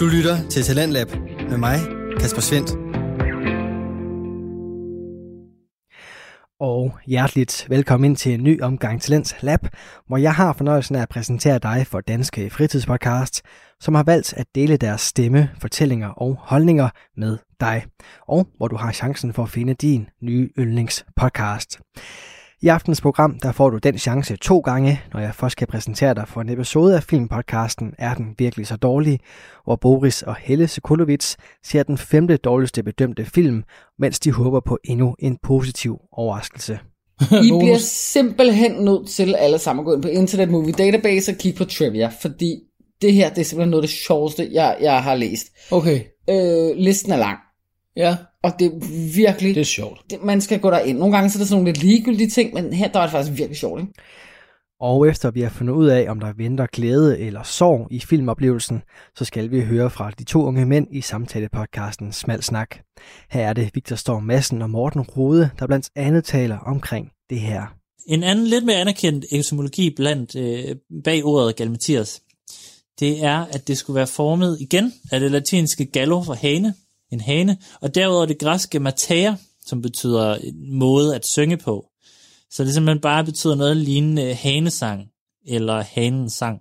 Du lytter til Talentlab med mig, Kasper Svendt. og hjerteligt velkommen ind til en ny omgang Talents Lab, hvor jeg har fornøjelsen af at præsentere dig for Danske Fritidspodcast, som har valgt at dele deres stemme, fortællinger og holdninger med dig, og hvor du har chancen for at finde din nye yndlingspodcast. I aftens program der får du den chance to gange, når jeg først skal præsentere dig for en episode af filmpodcasten Er den virkelig så dårlig? Hvor Boris og Helle Sekulovic ser den femte dårligste bedømte film, mens de håber på endnu en positiv overraskelse. I bliver simpelthen nødt til alle sammen at gå ind på Internet Movie Database og kigge på trivia, fordi det her det er simpelthen noget af det sjoveste, jeg, jeg har læst. Okay, Øh, listen er lang, ja, og det er virkelig... det Det... er sjovt. Man skal gå derind. Nogle gange så er der sådan nogle lidt ligegyldige ting, men her der er det faktisk virkelig sjovt, ikke? Og efter vi har fundet ud af, om der venter glæde eller sorg i filmoplevelsen, så skal vi høre fra de to unge mænd i samtalepodcasten Smal Snak. Her er det Victor Storm Madsen og Morten Rode, der blandt andet taler omkring det her. En anden lidt mere anerkendt etymologi blandt øh, bag ordet galmatias, det er, at det skulle være formet igen af det latinske gallo for hane, en hane, og derudover det græske matea, som betyder en måde at synge på. Så det simpelthen bare betyder noget lignende hanesang, eller hanens sang.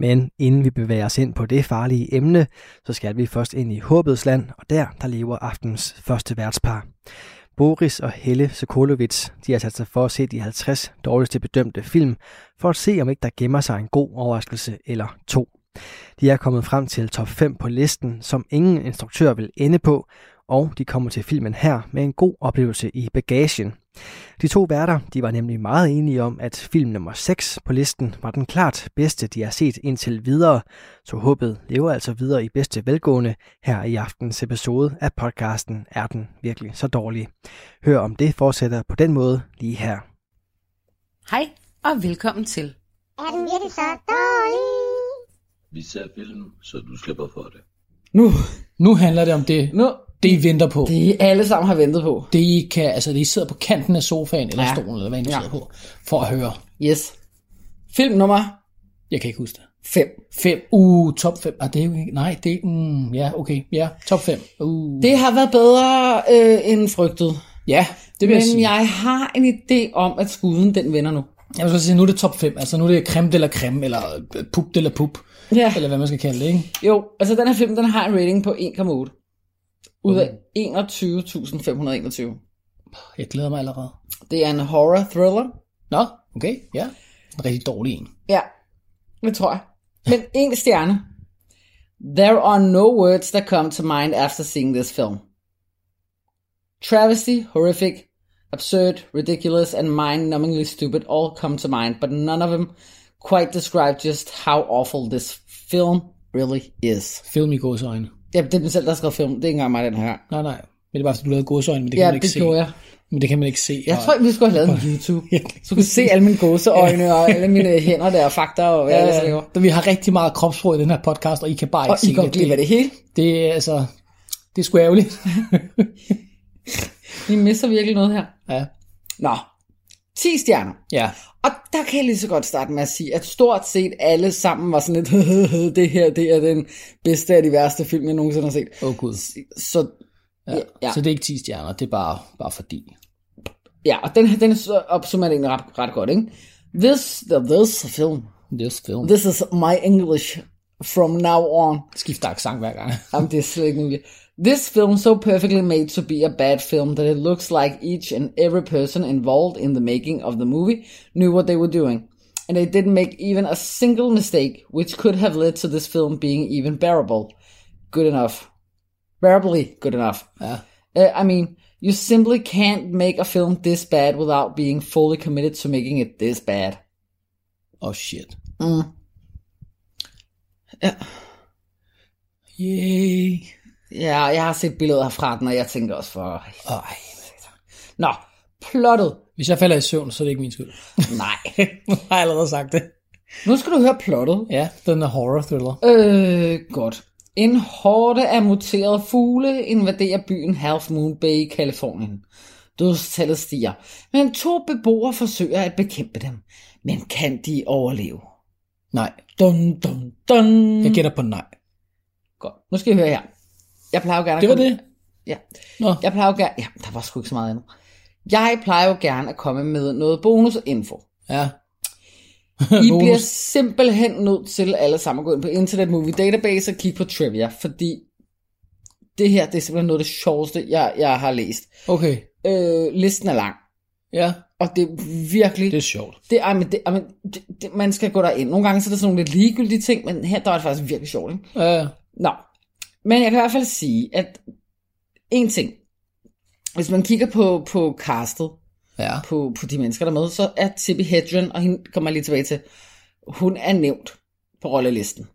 Men inden vi bevæger os ind på det farlige emne, så skal vi først ind i håbets land, og der, der lever aftens første værtspar. Boris og Helle Sokolovic, de har sat sig for at se de 50 dårligste bedømte film, for at se om ikke der gemmer sig en god overraskelse eller to. De er kommet frem til top 5 på listen, som ingen instruktør vil ende på, og de kommer til filmen her med en god oplevelse i bagagen. De to værter de var nemlig meget enige om, at film nummer 6 på listen var den klart bedste, de har set indtil videre, så håbet lever altså videre i bedste velgående her i aftens episode af podcasten Er den virkelig så dårlig? Hør om det fortsætter på den måde lige her. Hej og velkommen til. Er den virkelig så dårlig? Vi ser film, så du slipper for det. Nu, Nu handler det om det, nu, det I venter på. Mm. det er alle sammen har ventet på. Det I kan, altså det I sidder på kanten af sofaen, eller Ja. ja. stolen, eller hvad I nu Ja. ja. sidder på, for at høre. Yes. Film nummer Jeg kan ikke huske det. 5. 5. Uh, top 5. Ah, det er jo ikke, nej, det er, mm, ja, okay, ja, top 5. Uh. Det har været bedre øh, end frygtet. ja, det vil jeg Men sige. jeg har en idé om, at skuden den vender nu. Jeg vil så sige, nu er det top 5, altså nu er det creme eller creme, eller øh, pup eller pup, Ja. eller hvad man skal kalde det, ikke? Jo, altså den her film, den har en rating på 1,8 ud af 21.521. Jeg glæder mig allerede. Det er en horror thriller. Nå, okay, ja. En rigtig dårlig en. Ja, det tror jeg. Men en stjerne. There are no words that come to mind after seeing this film. Travesty, horrific, absurd, ridiculous, and mind-numbingly stupid all come to mind, but none of them quite describe just how awful this film really is. Film i gåsøjne. Ja, det er dem selv, der har skrevet film. Det er ikke engang mig den her. Nej, nej. Men det er bare, fordi du lavede gåsøjne, men det kan Ja, man ikke det se. gjorde jeg. Men det kan man ikke se. Jeg og- tror, vi skulle have lavet en YouTube. Så du kan se alle mine gåseøjne og alle mine hænder der og fakta og hvad jeg ellers laver. Da vi har rigtig meget kropsprog i den her podcast, og I kan bare ikke Og I se går glip af det hele. Det er altså, det er sgu ærgerligt. I mister virkelig noget her. ja. Nå, 10 stjerner. ja. Og der kan jeg lige så godt starte med at sige, at stort set alle sammen var sådan lidt, det her det er den bedste af de værste film, jeg nogensinde har set. Åh oh, gud. Så Ja. ja. Så det er ikke 10 stjerner, det er bare, bare fordi. ja, og den, den opsummerer det egentlig ret, ret godt, ikke? This, the, this film, Det er også film. Det... this is my English from now on. Skifter accent hver gang. Jamen, det er slet ikke muligt. This film so perfectly made to be a bad film that it looks like each and every person involved in the making of the movie knew what they were doing. And they didn't make even a single mistake, which could have led to this film being even bearable. Good enough. Bearably good enough. Uh, I mean, you simply can't make a film this bad without being fully committed to making it this bad. Oh shit. Mm. Yay. Ja, jeg har set billeder herfra den, og jeg tænker også for... Ej. Nå, plottet. Hvis jeg falder i søvn, så er det ikke min skyld. Nej. nu har jeg allerede sagt det. Nu skal du høre plottet. Ja, den er horror thriller. Øh, godt. En horde af muterede fugle invaderer byen Half Moon Bay i Kalifornien. Dødstallet stiger, men to beboere forsøger at bekæmpe dem. Men kan de overleve? Nej. Dun, dun, dun. Jeg gætter på nej. Godt. Nu skal I høre her. Jeg plejer jo gerne at Det var komme- det. Ja. Nå. Jeg plejer jo gerne... Ja, der var sgu ikke så meget andet. Jeg plejer jo gerne at komme med noget bonusinfo. Ja. I Bonus. bliver simpelthen nødt til alle sammen at gå ind på Internet Movie Database og kigge på trivia, fordi det her det er simpelthen noget af det sjoveste, jeg, jeg har læst. Okay. Øh, listen er lang, Ja. og det er virkelig... Det er sjovt. Det, ej, men det, ej, men det, det, man skal gå derind. Nogle gange så er der sådan nogle lidt ligegyldige ting, men her der var det faktisk virkelig sjovt. Ikke? Ja. Nå, men jeg kan i hvert fald sige, at en ting. Hvis man kigger på, på castet, Ja. på, på de mennesker, der er med, så er Tippi Hedren, og hende kommer jeg lige tilbage til, hun er nævnt på rollelisten.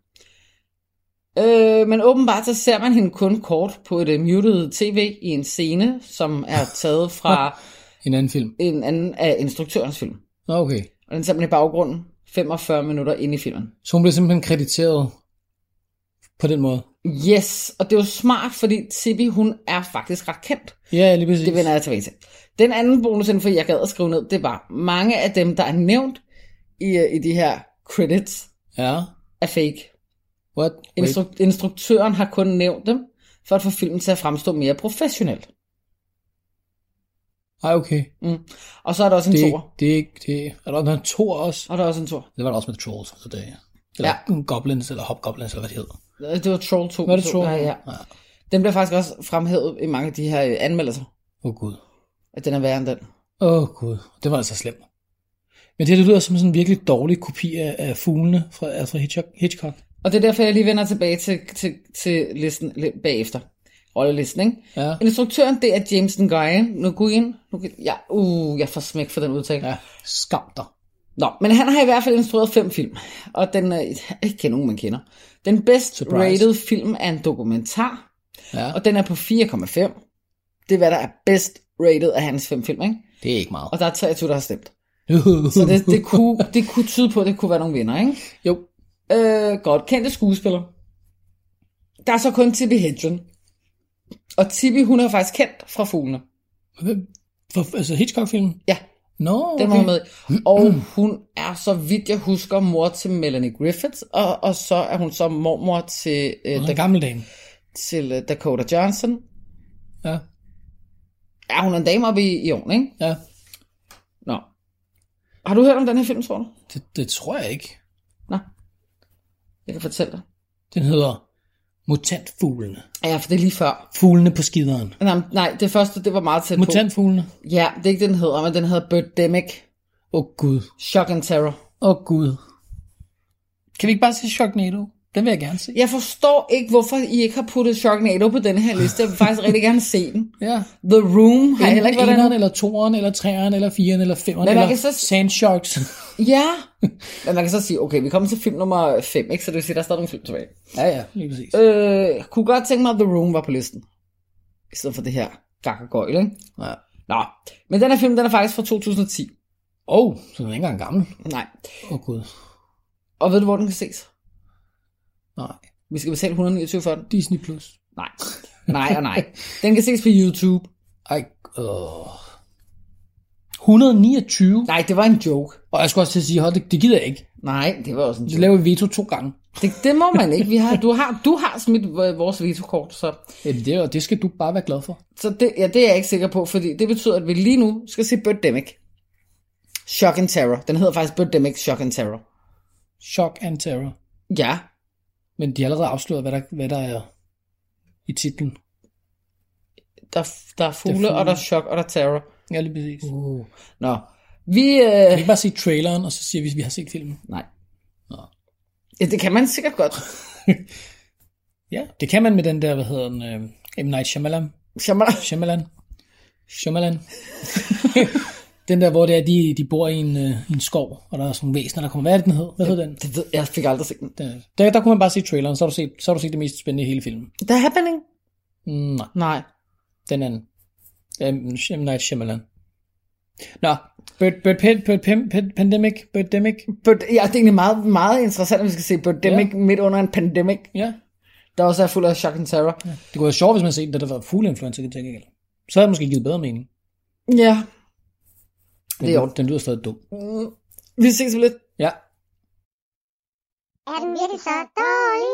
Øh, men åbenbart så ser man hende kun kort på et uh, muted tv i en scene, som er taget fra En anden film. en anden af instruktørens film. Nå, okay. Og den er simpelthen i baggrunden, 45 minutter inde i filmen. Så hun bliver simpelthen krediteret på den måde. Yes, og det er jo smart, fordi Tippi, hun er faktisk ret kendt. Ja, lige præcis. Det vender jeg tilbage til. Den anden bonus inden for, jeg gad at skrive ned, det var, mange af dem, der er nævnt i, øh, i de her credits, Ja. er fake. What? Wait. Instru- instruktøren har kun nævnt dem, for at få filmen til at fremstå mere professionelt. Ej, okay. Og så er der også en Det er tor. ikke, det er ikke, det er, er der en tor også? Og der er også en tor. Det var der også med trolls, så det Eller ja. goblins, eller hobgoblins, eller hvad det hedder. Øh, Det var Troll 2. Var det Så- troll? Ja, ja. Den bliver faktisk også fremhævet i mange af de her øh, anmeldelser, Åh, oh, gud. at den er værre end den. Åh, oh, gud. Det var altså slemt. Men det, her, det lyder som sådan en virkelig dårlig kopi af, af fuglene fra Alfred Hitchcock. Hitchcock. Og det er derfor, jeg lige vender tilbage til, til, til listen lidt bagefter. Rollelisten, ikke? Ja. Instruktøren, det er James Nguyen. Nguyen. Nguyen. Ja, uh, jeg får smæk for den udtale. Ja, skam dig. Nå, men han har i hvert fald instrueret fem film, og den er ikke nogen, man kender. Den bedst Surprise. Surprise. rated film er en dokumentar, Ja. og den er på 4,5. Det er, hvad der er bedst rated af hans fem film, ikke? Det er ikke meget. Og der er 23, der har stemt. Så det, det, kunne, det kunne tyde på, at det kunne være nogle vinder, ikke? Jo. Øh, godt, kendte skuespiller. Der er så kun Tippi Hedren. Og Tippi, hun er faktisk kendt fra fuglene. Hvem- For, altså Hitchcock-filmen? Ja, Nå, den var hun med. i. Og hun er, så vidt jeg husker, mor til Melanie Griffith, og, og så er hun så mormor til, øh, Den da, gamle dame. til øh, Dakota Johnson. Ja, Ja, hun er en dame oppe i, i årene, ikke? ja. Nå. Har du hørt om den her film, tror du? Det, det tror jeg ikke. Nå. Jeg kan fortælle dig. Den hedder Mutantfuglene. Ja, for det er lige før. Fuglene på skideren. Nej, nej det første, det var meget tæt på. Mutantfuglene. Ja, det er ikke det, den hedder, men den hedder Birdemic. Åh, oh, gud. Shock and Terror. Åh, oh, gud. Kan vi ikke bare se Sharknado? Den vil jeg gerne se. Jeg forstår ikke, hvorfor I ikke har puttet Sharknado på den her liste. Jeg vil faktisk rigtig gerne se den. Ja. The Room har heller ikke været eneren, den. eller toeren, eller treeren, eller firen, eller femeren, Men man eller kan så- Sand Sharks. Ja. Men man kan så sige, okay, vi kommer til film nummer 5, ikke? Så det vil sige, der er stadig nogle film tilbage. ja, ja, lige præcis. Øh, jeg kunne godt tænke mig, at The Room var på listen. I stedet for det her gak og gøjl, ikke? Ja. Nå, men den her film, den er faktisk fra 2010. Åh, oh, så den er ikke engang gammel. Nej. Åh, oh, gud. Og ved du, hvor den kan ses? Nej. Vi skal betale 129 for den. Disney Plus. Nej. Nej og nej. Den kan ses på YouTube. Ej, øh. 129? Nej, det var en joke. Og jeg skulle også til at sige, hold, det, det gider jeg ikke. Nej, det var også en Så joke. laver vi veto to gange. Det, det må man ikke. Vi har, du, har, du har smidt øh, vores vetokort, så, Jamen, det, og det skal du bare være glad for. så det, ja, det er jeg ikke sikker på, fordi det betyder, at vi lige nu skal se Birdemic. Shock and Terror. Den hedder faktisk Birdemic Shock and Terror. Shock and Terror. Ja, Men de har allerede afsløret, hvad der, hvad der er i titlen. der, der er fugle, fugle. og der er chok, og der er terror. Ja, lige præcis. Uh. Uh. Nå, vi... Kan vi Øh, ikke bare se traileren, og så siger vi, at vi har set filmen? nej. Ja, det kan man sikkert godt. Ja, det kan man med den der, hvad hedder den, øh, M. Night Shyamalan. Shyamalan. Shyamalan. Shyamalan. den der, hvor det er, de, de bor i en, øh, i en skov, og der er sådan nogle væsener, der kommer. Hvad er det, den hed? Hvad hed den? Det ved, jeg fik aldrig set den. Der, der, der kunne man bare se traileren, så har du set, så har du set det mest spændende i hele filmen. The Happening? Mm, nej, Nej. den anden. Øhm, Sh- M. Night Shyamalan. Nå, Bird, Bird, Pit, Bird, Pim, Pit, Pandemic, Birdemic. But, ja, det er egentlig meget, meget interessant, at vi skal se Birdemic ja. midt under en pandemic, Ja, der også er fuld af shock and terror. Ja, det kunne være sjovt, hvis man havde set, da der var fugleinfluencer, kan jeg tænke ikke. Så havde det måske givet bedre mening. ja. Mm, Men Det er den, den lyder stadig dum. vi ses om lidt. Ja, Er den virkelig så dårlig?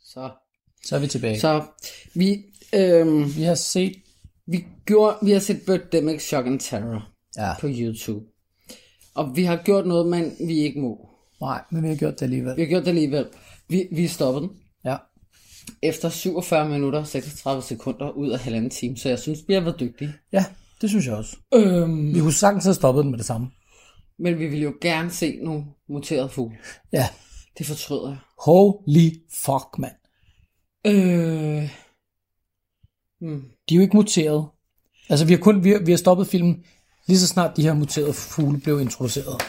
Så, Så er vi tilbage. Så. så vi, øhm, Vi har set... vi, gjorde, vi har set Birdemic Shock and Terror Ja, på YouTube. Og vi har gjort noget, men vi ikke må. nej, men vi har gjort det alligevel. Vi har gjort det alligevel. Vi, vi stoppede den Ja, efter 47 minutter, 36 sekunder ud af halvanden time, så jeg synes, vi har været dygtige. ja det synes jeg også. Øhm, Vi kunne sagtens have stoppet den med det samme. men vi ville jo gerne se nogle muterede fugle. Ja. Det fortryder jeg. Holy fuck, mand. Øh, hmm. De er jo ikke muteret. Altså, vi har, kun, vi, har, vi har stoppet filmen lige så snart de her muterede fugle blev introduceret.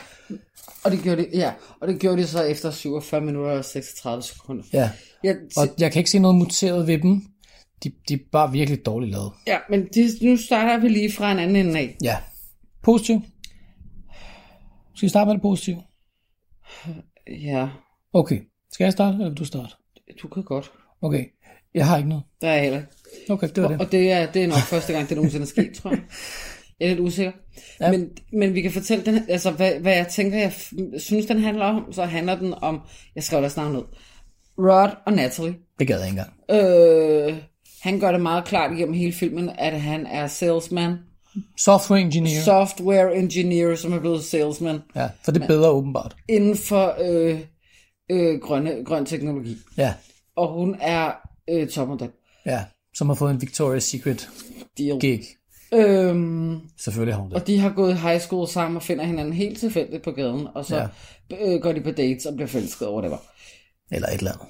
Og det gjorde de, ja, og det gjorde de så efter 47 minutter og 36 sekunder. Ja, Ja, og t- jeg kan ikke se noget muteret ved dem. De, de er bare virkelig dårligt lavet. ja men det, nu starter vi lige fra en anden ende af. Ja. Positiv. Skal vi starte med det positive? Ja, Okay. Skal jeg starte, eller vil du starte? du kan godt. Okay. Jeg har ikke noget. Der er jeg heller ikke. Okay, det var det. Og det er, det er nok første gang, det nogensinde er sket, tror jeg. Jeg er lidt usikker. Ja. Men, men vi kan fortælle, den, altså, hvad, hvad jeg tænker, jeg f- synes, den handler om. Så handler den om, jeg skrev deres navn ned, Rod og Natalie. Det gad jeg ikke engang. Øh, han gør det meget klart igennem hele filmen, at han er salesman. Software engineer. Så... Software engineer, som er blevet salesman Ja, for det er bedre åbenbart. inden for øh, øh, grønne, grøn teknologi. Ja, Og hun er øh, topmodel. ja. Som har fået en Victoria's Secret Deal. gig. Øhm, Selvfølgelig har hun det. Og de har gået i high school sammen og finder hinanden helt tilfældigt på gaden, og så ja. øh, går de på dates og bliver forelsket over det var. Eller et eller andet.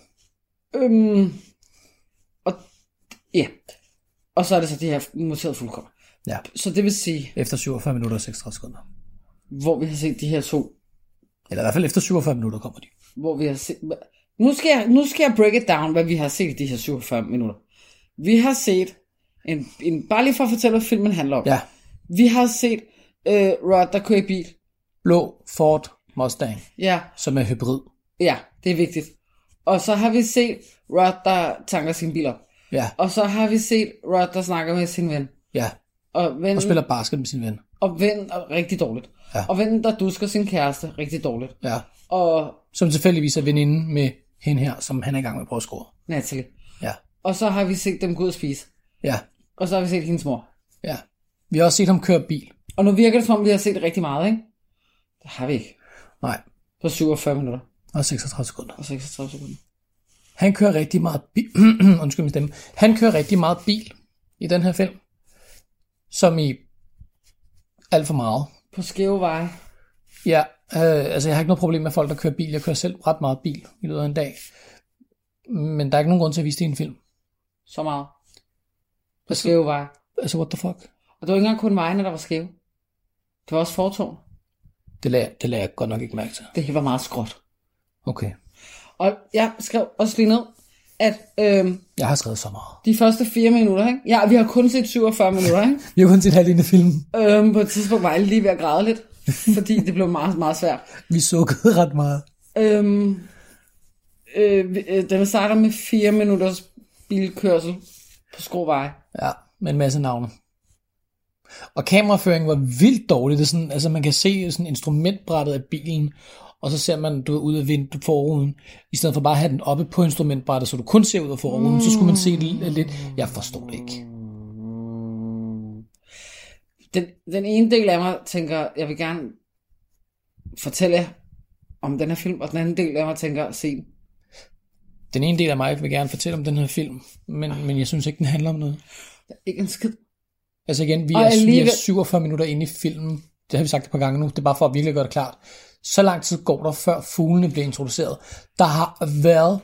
Øhm, og ja, og så er det så de her muterede fuldkommer. Ja. Så det vil sige, Efter 47 minutter og 36 sekunder. hvor vi har set de her to, Eller i hvert fald efter 47 minutter kommer de. hvor vi har set... Nu skal, jeg, nu skal jeg break it down, hvad vi har set i de her 47 minutter. Vi har set, en, en, bare lige for at fortælle, hvad filmen handler om. Ja. Vi har set øh, Rod, der kører i bil. Blå Ford Mustang, Ja, som er hybrid. Ja, det er vigtigt. Og så har vi set Rod, der tanker sin bil op. Ja, Og så har vi set Rod, der snakker med sin ven. ja. Og ven, Og spiller basket med sin ven. og ven og rigtig dårligt. Ja. Og ven, der dusker sin kæreste rigtig dårligt. Ja. Og Som tilfældigvis er veninde med hende her, som han er i gang med at prøve at score. Natalie. Ja, Og så har vi set dem gå ud og spise. ja, Og så har vi set hendes mor. ja. Vi har også set ham køre bil. Og nu virker det som om, vi har set rigtig meget, ikke? Det har vi ikke. Nej, På 47 minutter og 36 sekunder. og 36 sekunder. Han kører rigtig meget bil. Undskyld min stemme. Han kører rigtig meget bil i den her film. Som i alt for meget. På skæve veje. Ja, øh, altså jeg har ikke noget problem med folk, der kører bil. Jeg kører selv ret meget bil i løbet af en dag. Men der er ikke nogen grund til at vise det i en film. Så meget. På skæve veje. Altså, what the fuck? Og det var ikke engang kun vejene, der var skæve. Det var også fortårn. Det lagde, det lagde jeg godt nok ikke mærke til. Det var meget skråt. Okay, Og jeg skrev også lige ned, at øhm, jeg har skrevet så meget. de første fire minutter, ikke? Ja, vi har kun set 47 minutter, ikke? Vi har kun set halvdelen af filmen. Øhm, på et tidspunkt var jeg lige ved at græde lidt, fordi det blev meget, meget svært. Vi sukkede ret meget. Øhm, øh, vi- øh, den starter med fire minutters bilkørsel på skråveje. Ja, med en masse navne. Og kameraføringen var vildt dårlig. Det er sådan, altså man kan se sådan instrumentbrættet af bilen, og så ser man du ved, ud af vinduet forruden. I stedet for bare at have den oppe på instrumentbrættet, så du kun ser ud af forruden, mm. så skulle man se det lidt. Jeg forstår det ikke. Den, den ene del af mig tænker, jeg vil gerne fortælle jer om den her film, og den anden del af mig tænker, se den. Den ene del af mig vil gerne fortælle om den her film, men, men jeg synes ikke, den handler om noget. ikke en skid. Altså igen, vi Og er, vi er alligevel- 47 minutter inde i filmen. Det har vi sagt et par gange nu. Det er bare for at virkelig gøre det klart. Så lang tid går der, før fuglene bliver introduceret. Der har været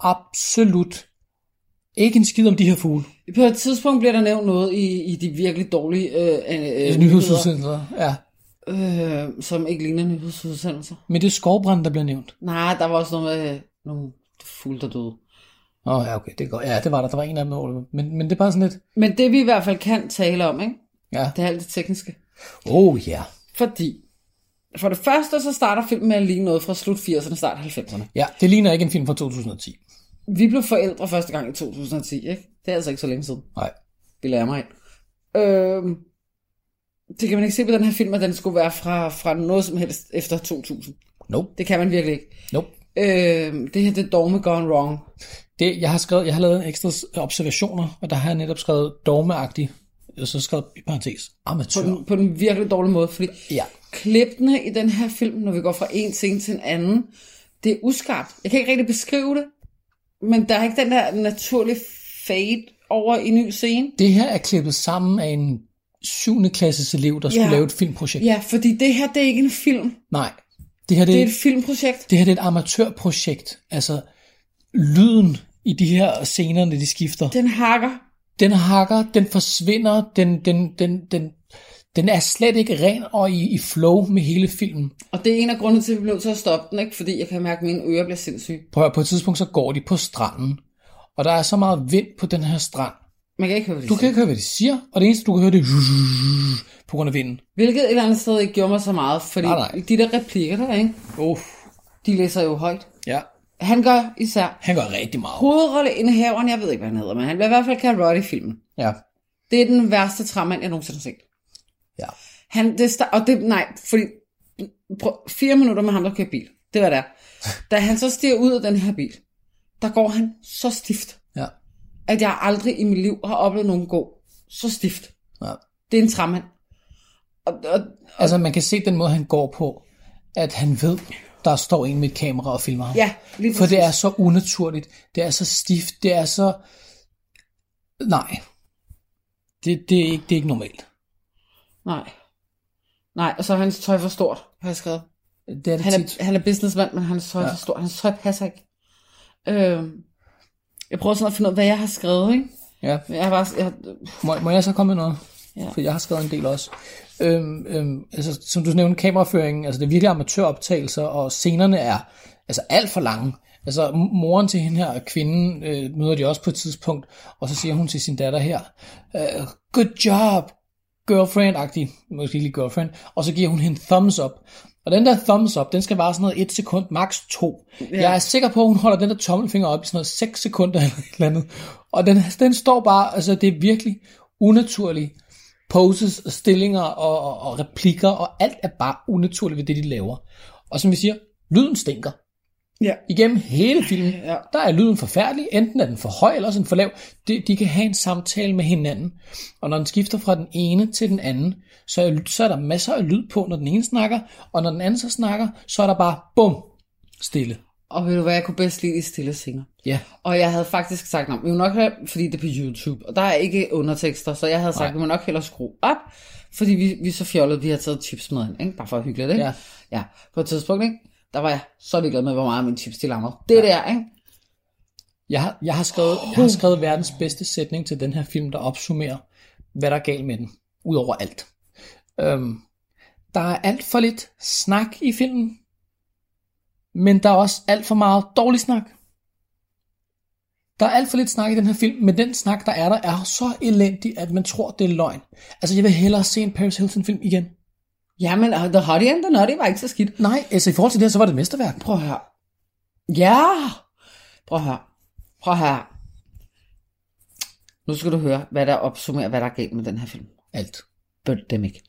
absolut ikke en skid om de her fugle. På et tidspunkt bliver der nævnt noget i, i de virkelig dårlige øh, øh, øh, nyheder, Nyhedsudsendelser. Ja. øh, som ikke ligner nyhedsudsendelser. Men det er skovbrand, der bliver nævnt. Nej, der var også noget med øh, nogle fugle, der døde. Åh, oh, ja, okay. Det går. Ja, det var der. Der var en af dem, hvor det- men, men det er bare sådan lidt... Men det vi i hvert fald kan tale om, ikke? Ja. det er alt det tekniske. Oh, ja. Yeah. Fordi, for det første, så starter filmen med at ligne noget fra slut 80'erne, start 90'erne. Ja, det ligner ikke en film fra 2010. Vi blev forældre første gang i 2010, ikke? Det er altså ikke så længe siden. Nej. Det lærer mig ind. Øhm, det kan man ikke se på den her film, at den skulle være fra, fra noget som helst efter 2000. Nope. Det kan man virkelig ikke. Nope. Øh, det her, det er dogme gone wrong. Det, jeg har skrevet, jeg har lavet en ekstra s- observationer, og der har jeg netop skrevet dogmeagtig, og så skrevet i parentes På amatør. den, på den virkelig dårlige måde, fordi Ja. klipene i den her film, når vi går fra en scene til en anden, det er uskarpt. Jeg kan ikke rigtig beskrive det, men der er ikke den der naturlige fade over i ny scene. Det her er klippet sammen af en 7. klasses elev, der skulle Ja. lave et filmprojekt. Ja, fordi det her, det er ikke en film. Nej, det her det, Det er det, et filmprojekt. det her det er et amatørprojekt. Altså, lyden i de her scener, når de skifter, Den hakker. den hakker, den forsvinder, den, den, den, den, den er slet ikke ren og i, i flow med hele filmen. Og det er en af grundene til, at vi blev nødt til at stoppe den, ikke? fordi jeg kan mærke, at mine ører bliver sindssyge. Prøv at høre, på et tidspunkt, så går de på stranden, og der er så meget vind på den her strand. Man kan ikke høre, hvad de Du kan siger. ikke høre, hvad de siger, og det eneste, du kan høre, det er på grund af vinden. Hvilket et eller andet sted ikke gjorde mig så meget, fordi Nej, nej. de der replikker der, ikke? Uff, de læser jo højt. ja. Han gør især Han gør rigtig meget. hovedrolleindehaveren, jeg ved ikke, hvad han hedder, men han bliver i hvert fald kaldt Rod i filmen. Ja, Det er den værste træmand, jeg nogensinde har set. ja. Han, det, sta- og det, nej, fordi prøv, fire minutter med ham, der kører bil. Det var der. Da han så stiger ud af den her bil, der går han så stift, Ja. at jeg aldrig i mit liv har oplevet nogen gå så stift. ja. Det er en træmand. Og, og, Altså, man kan se den måde, han går på, at han ved, der står en med et kamera og filmer ham. ja, lige For det præcis. er så unaturligt, det er så stift, det er så... Nej. Det, det, er, ikke, det er ikke normalt. Nej. Nej, og så er hans tøj for stort, har jeg skrevet. Det er det Han han tit. er, han er businessmand, men hans tøj er Ja. for stort. Hans tøj passer ikke. Øhm, jeg prøver sådan at finde ud af, hvad jeg har skrevet, ikke? Ja. Men Jeg har bare, jeg, har- Må, må jeg så komme med noget? Ja. For jeg har skrevet en del også. Øhm, øhm, altså, som du nævnte, kameraføringen, altså det er virkelig amatøroptagelser, og scenerne er altså alt for lange. Altså m- moren til hende her, kvinden, øh, møder de også på et tidspunkt, og så siger hun til sin datter her, øh, good job, girlfriend-agtig, måske ikke lige girlfriend, og så giver hun hende thumbs up. Og den der thumbs up, den skal vare sådan noget 1 sekund, max 2. Ja. Jeg er sikker på, at hun holder den der tommelfinger op i sådan noget 6 sekunder eller et eller andet. Og den, den står bare, altså det er virkelig unaturlige poses, og stillinger og, og, og replikker, og alt er bare unaturligt ved det, de laver. Og som vi siger, lyden stinker. Ja. Igennem hele filmen, Ja. ja. der er lyden forfærdelig. Enten er den for høj, eller også er den for lav. De, de kan have en samtale med hinanden. Og når den skifter fra den ene til den anden, så er, så er der masser af lyd på, når den ene snakker. Og når den anden så snakker, så er der bare bum, stille. og ved du hvad, jeg kunne bedst lide i stille singer. Ja, Og jeg havde faktisk sagt, at vi må nok have, fordi det er på YouTube, og der er ikke undertekster, så jeg havde sagt, at vi må nok hellere skrue op, fordi vi, vi er så fjollede, vi har taget chips med ind, ikke? bare for at hygge lidt, ikke? Ja. ja. På et tidspunkt, ikke? der var jeg så ligeglad med, hvor meget min chips de lammede. Det ja. der, ikke? Jeg har, jeg, har skrevet, jeg har skrevet verdens bedste sætning til den her film, der opsummerer, hvad der er galt med den, udover alt. Øhm, der er alt for lidt snak i filmen, men der er også alt for meget dårlig snak. Der er alt for lidt snak i den her film, men den snak, der er der, er så elendig, at man tror, det er løgn. Altså, jeg vil hellere se en Paris Hilton-film igen. Jamen, og The Hottie and the Nutty var ikke så skidt. Nej, altså i forhold til det her, så var det et mesterværk. Prøv at høre. Ja! Prøv at høre. Prøv at høre. Nu skal du høre, hvad der opsummerer, hvad der er galt med den her film. Alt. Bønd dem ikke.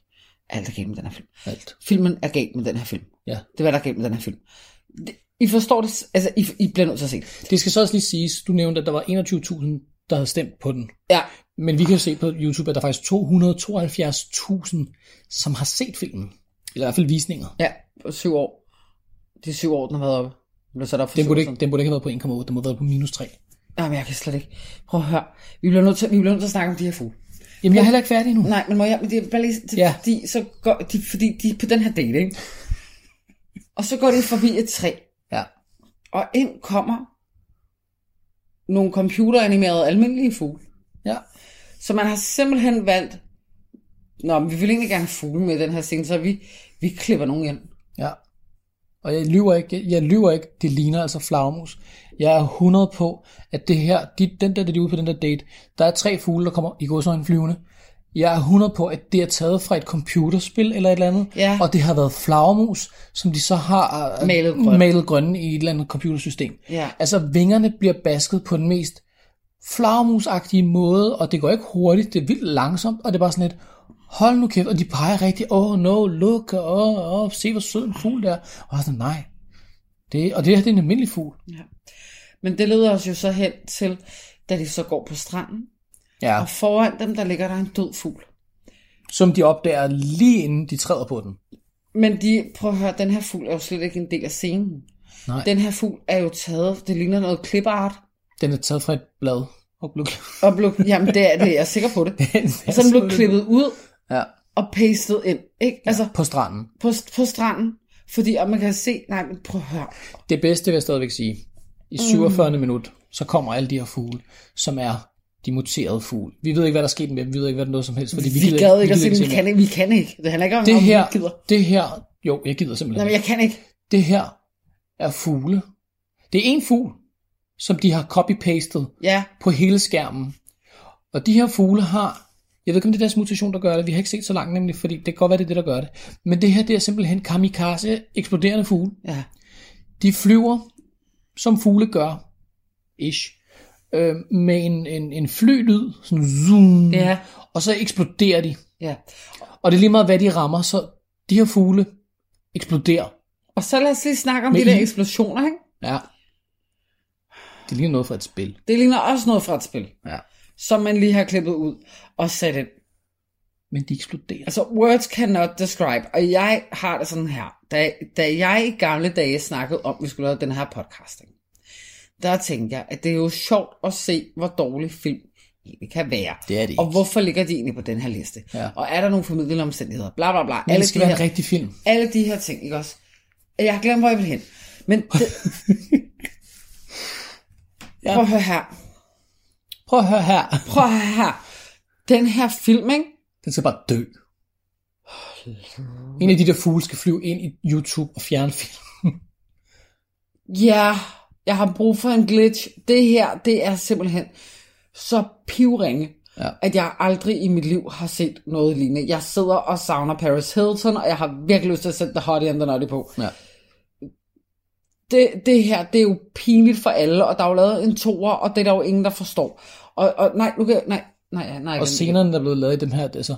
Alt er galt med den her film. Alt. Filmen er galt med den her film. Ja. Det er, hvad der er galt med den her film. Det- I forstår det, s- altså I, I bliver nødt til at se det. Det skal så også lige siges, du nævnte, at der var 21.000, der havde stemt på den. Ja, Men vi kan jo se på YouTube, at der er faktisk 272.000, som har set filmen. Eller i hvert fald visninger. ja, på syv år. De syv år, den har været oppe. Den blev sat op for Den syv burde, år ikke, siden. den burde ikke have været på 1,8, den må have været på minus 3. Jamen, jeg kan slet ikke. Prøv at høre. Vi bliver nødt til, vi bliver nødt til at snakke om de her fugle. Jamen, jeg er heller ikke færdig nu. Nej, men må jeg, men det er bare lige, det, ja. Ja. fordi, så går, de, fordi de er på den her date, ikke? Og så går de forbi et træ, Ja. og ind kommer nogle computeranimerede almindelige fugle. Ja. Så man har simpelthen valgt, nå, men vi vil egentlig gerne have fugle med i den her scene, så vi, vi klipper nogen ind. Ja. Og jeg lyver ikke, jeg lyver ikke, det ligner altså flagmus. Jeg er 100 på, at det her, de, den der, der de er ude på den der date, der er tre fugle, der kommer i godsøjne flyvende. Jeg er 100 på, at det er taget fra et computerspil eller et eller andet, Ja. og det har været flagermus, som de så har øh, Malet grønne. malet grønne i et eller andet computersystem. Ja. Altså vingerne bliver basket på den mest flagermusagtige måde, og det går ikke hurtigt, det er vildt langsomt, og det er bare sådan lidt, hold nu kæft, og de peger rigtig, åh oh, no, look, og oh, oh, se hvor sød en fugl der. Og jeg er sådan, nej, det, og det her det er en almindelig fugl. Men det leder os jo så hen til, da de så går på stranden, Ja, og foran dem, der ligger der en død fugl. som de opdager lige inden de træder på den. Men de, prøv at høre, den her fugl er jo slet ikke en del af scenen. Nej. Den her fugl er jo taget, det ligner noget klipart. Den er taget fra et blad. Og blev, Og blev, jamen det er det, jeg er sikker på det. Og så den blev klippet ud Ja. og pastet ind, ikke? Altså på stranden. på, på stranden, fordi og man kan se, nej, men prøv at høre. Det bedste vil jeg stadigvæk sige. I 47. Mm. minut, så kommer alle de her fugle, som er de muterede fugle. Vi ved ikke, hvad der skete med dem. Vi ved ikke, hvad der er noget som helst. Fordi Vi vi, gider- gad ikke at gider se, den. vi mere. kan ikke, vi kan ikke. Det handler ikke om, Det om her, vi gider. det her, jo, jeg gider simpelthen. Nej, men jeg kan ikke. Det her er fugle. Det er en fugl, som de har copy-pastet Ja, på hele skærmen. Og de her fugle har, jeg ved ikke om det er deres mutation, der gør det, vi har ikke set så langt nemlig, fordi det kan godt være, det er det, der gør det. Men det her, det er simpelthen kamikaze, eksploderende fugle. ja. De flyver, som fugle gør, ish, øh, med en, en, en flylyd, sådan zoom, Ja. og så eksploderer de. ja. Og det er lige meget, hvad de rammer, så de her fugle eksploderer. Og så lad os lige snakke om Men de der I- eksplosioner, ikke? Ja. Det ligner noget fra et spil. Det ligner også noget fra et spil, Ja. som man lige har klippet ud og sat ind. Men de eksploderer. Altså, words cannot describe. Og jeg har det sådan her. Da, da jeg i gamle dage snakkede om, at vi skulle lave den her podcast, ikke? der tænkte jeg, at det er jo sjovt at se, hvor dårlig film egentlig kan være. Det er det Og ikke. hvorfor ligger de egentlig på den her liste? Ja. Og er der nogle formidlende omstændigheder? Bla, bla, bla. Men Alle det de, skal være en her, rigtig film. alle de her ting, ikke også? Jeg har glemt, hvor jeg vil hen. Men det... ja. Prøv at høre her. Prøv at høre her. Prøv at høre her. Den her film, ikke? Den skal bare dø. En af de der fugle skal flyve ind i YouTube og fjerne film. Ja, jeg har brug for en glitch. Det her, det er simpelthen så pivringe, Ja. at jeg aldrig i mit liv har set noget lignende. Jeg sidder og savner Paris Hilton, og jeg har virkelig lyst til at sætte The Hottie and the Nutty på. Ja. Det, det her, det er jo pinligt for alle, og der er jo lavet en toer, og det er der jo ingen, der forstår. Og, og nej, nu kan jeg, nej, nej, nej, nej. Og igen. scenerne, der er blevet lavet i dem her, det er så...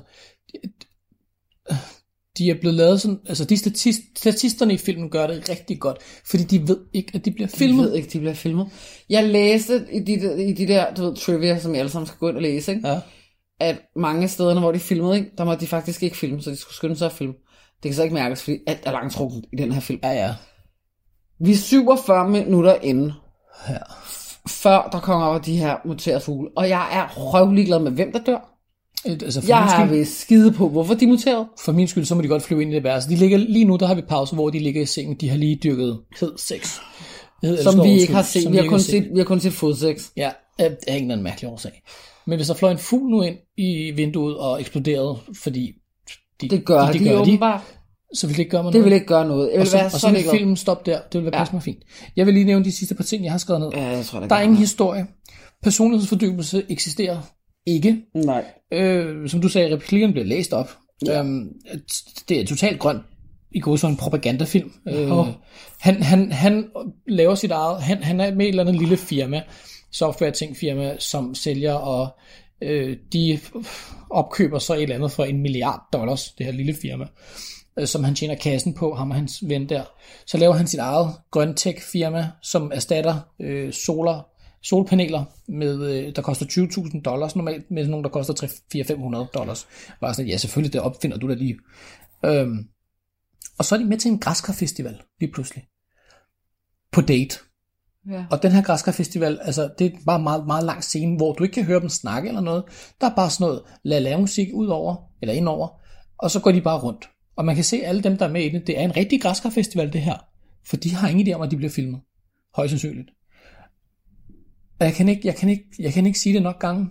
De er blevet lavet sådan... Altså, de statist, statisterne i filmen gør det rigtig godt, fordi de ved ikke, at de bliver filmet. filmet. Jeg ved ikke, de bliver filmet. Jeg læste i de, der- i de der, du ved, trivia, som jeg alle sammen skal gå ind og læse, ikke? Ja. at mange af stederne, hvor de filmede, ikke? der måtte de faktisk ikke filme, så de skulle skynde sig at filme. Det kan så ikke mærkes, fordi alt er langtrukket i den her film. Ja, ja. Vi er 47 minutter inde, Ja. før der kommer over de her muterede fugle. Og jeg er røvlig glad med, hvem der dør. Et- Altså, for, Jeg min har skyld, ved skide på, hvorfor de er muteret. for min skyld, så må de godt flyve ind i det værelse. De ligger, lige nu, der har vi pause, hvor de ligger i sengen. De har lige dyrket hed sex. Hed eller Som skov, vi ikke undskyld. har set. Som Vi har ikke kun set, vi har kun set fodsex. Ja, af af en eller anden mærkelig årsag. Men hvis der fløj en fugl nu ind i vinduet og eksploderede, fordi de, Det gør de, de, de åbenbart. så ville det ikke gøre mig Det noget. vil ikke gøre noget. Jeg og vil så, være og så så vil ligeglad. filmen stoppe der. Det ville være Ja. ja. mig fint. Jeg vil lige nævne de sidste par ting, jeg har skrevet ned. Ja, jeg tror, det der er gør ingen noget. historie. Personlighedsfordybelse eksisterer ikke. Nej. Øh, som du sagde, replikkerne bliver læst op. Ja. Øhm, det er totalt grøn i går så en propagandafilm. Øh, han, han, han laver sit eget, han, han er med et eller andet lille firma, software ting firma, som sælger, og øh, de opkøber så et eller andet for en milliard dollars, det her lille firma, øh, som han tjener kassen på, ham og hans ven der. Så laver han sit eget grøntech firma, som erstatter øh, solar, solpaneler, med, øh, der koster 20.000 dollars normalt, med sådan nogle, der koster 400-500 dollars. Bare sådan, ja selvfølgelig, det opfinder du da lige. Øhm, og så er de med til en græskarfestival, lige pludselig. På date. Ja. Og den her græskarfestival, altså, det er bare en meget, meget lang scene, hvor du ikke kan høre dem snakke eller noget. Der er bare sådan noget, lad lave musik ud over, eller indover, og så går de bare rundt. Og man kan se alle dem, der er med i det. Det er en rigtig græskarfestival, det her. For de har ingen idé om, at de bliver filmet. Højst sandsynligt. Og jeg kan ikke, jeg kan ikke, jeg kan ikke sige det nok gange.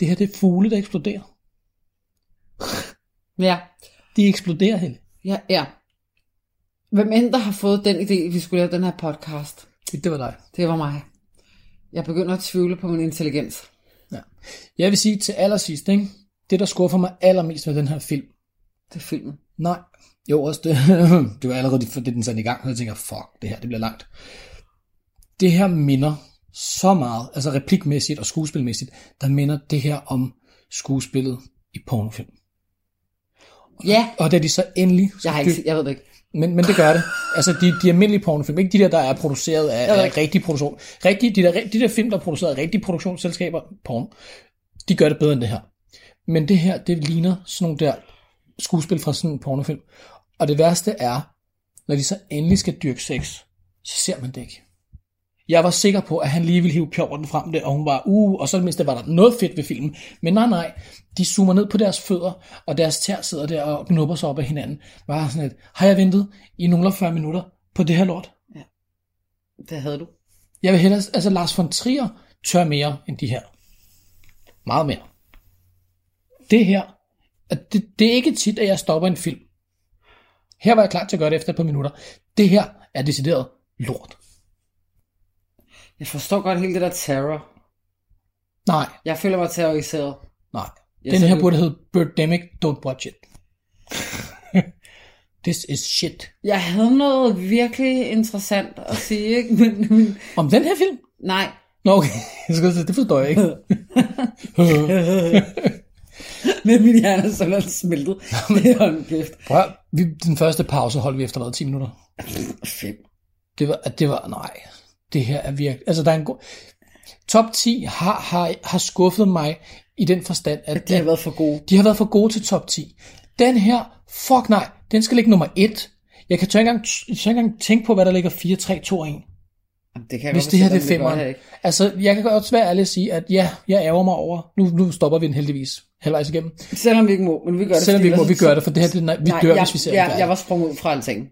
Det her, det er fugle, der eksploderer. Ja. De eksploderer, Helle. Ja, ja. Hvem end der har fået den idé, at vi skulle lave den her podcast? Det var dig. Det var mig. Jeg begynder at tvivle på min intelligens. Jeg vil sige til allersidst, ikke? det der skuffer mig allermest ved den her film, Det er filmen. Nej. Jo, også det. det var allerede, det den satte i gang, og jeg tænker, fuck, det her, det bliver langt. Det her minder så meget, altså replikmæssigt og skuespilmæssigt, der minder det her om skuespillet i pornofilm. Ja, Og da de så endelig... jeg har ikke, set- jeg ved det ikke. Men, men det gør det. Altså de, de almindelige pornofilm, ikke de der, der er produceret af, af rigtige produktion. Rigtige, de, der, de der film, der er produceret af rigtige produktionsselskaber, porno, de gør det bedre end det her. Men det her, det ligner sådan nogle der skuespil fra sådan en pornofilm. Og det værste er, når de så endelig skal dyrke sex, så ser man det ikke. Jeg var sikker på, at han lige ville hive pjorten frem der, og hun var, uh, og så det mindste var der noget fedt ved filmen. Men nej, nej, de zoomer ned på deres fødder, og deres tær sidder der og knupper sig op af hinanden. Bare sådan et, har jeg ventet i nogle og 40 minutter på det her lort? Det havde du. Jeg vil hellere, altså Lars von Trier tør mere end de her. Meget mere. Det her, at det, det er ikke tit, at jeg stopper en film. Her var jeg klar til at gøre det efter et par minutter. Det her er decideret lort. Jeg forstår godt hele det der terror. Nej, Jeg føler mig terroriseret. Nej. Jeg den ser her det- burde hedde Birdemic, don't watch it. This is shit. Jeg havde noget virkelig interessant at sige, ikke? Men, men Om den her film? nej. Nå, okay. Jeg skulle sige, Det forstår jeg ikke. Men min hjerne er sådan smeltet. Det er en gift. Prøv at- vi, den første pause holdt vi efter hvad, 10 minutter? Fem. Det var, det var, nej. Det her er virkelig, altså der er en god... Top 10 har, har, har skuffet mig i den forstand, at De har været for gode. De har været for gode til top 10. Den her, fuck nej, den skal ligge nummer 1. Jeg kan tør ikke engang, jeg tør ikke engang tænke på, hvad der ligger 4, 3, 2 og 1. Jamen, Det kan jeg Hvis godt det her det forstå, men er gør jeg femmeren. ikke. Altså, jeg kan godt svært ærligt sige, at ja, jeg ærger mig over. Nu, nu stopper vi den heldigvis halvvejs igennem. Selvom vi ikke må, men vi gør det. Selvom vi ikke må, fordi vi der- gør det, for det her, det, er nej, vi Nej, dør, jeg, hvis vi ser jeg, det. jeg var sprunget ud fra alting.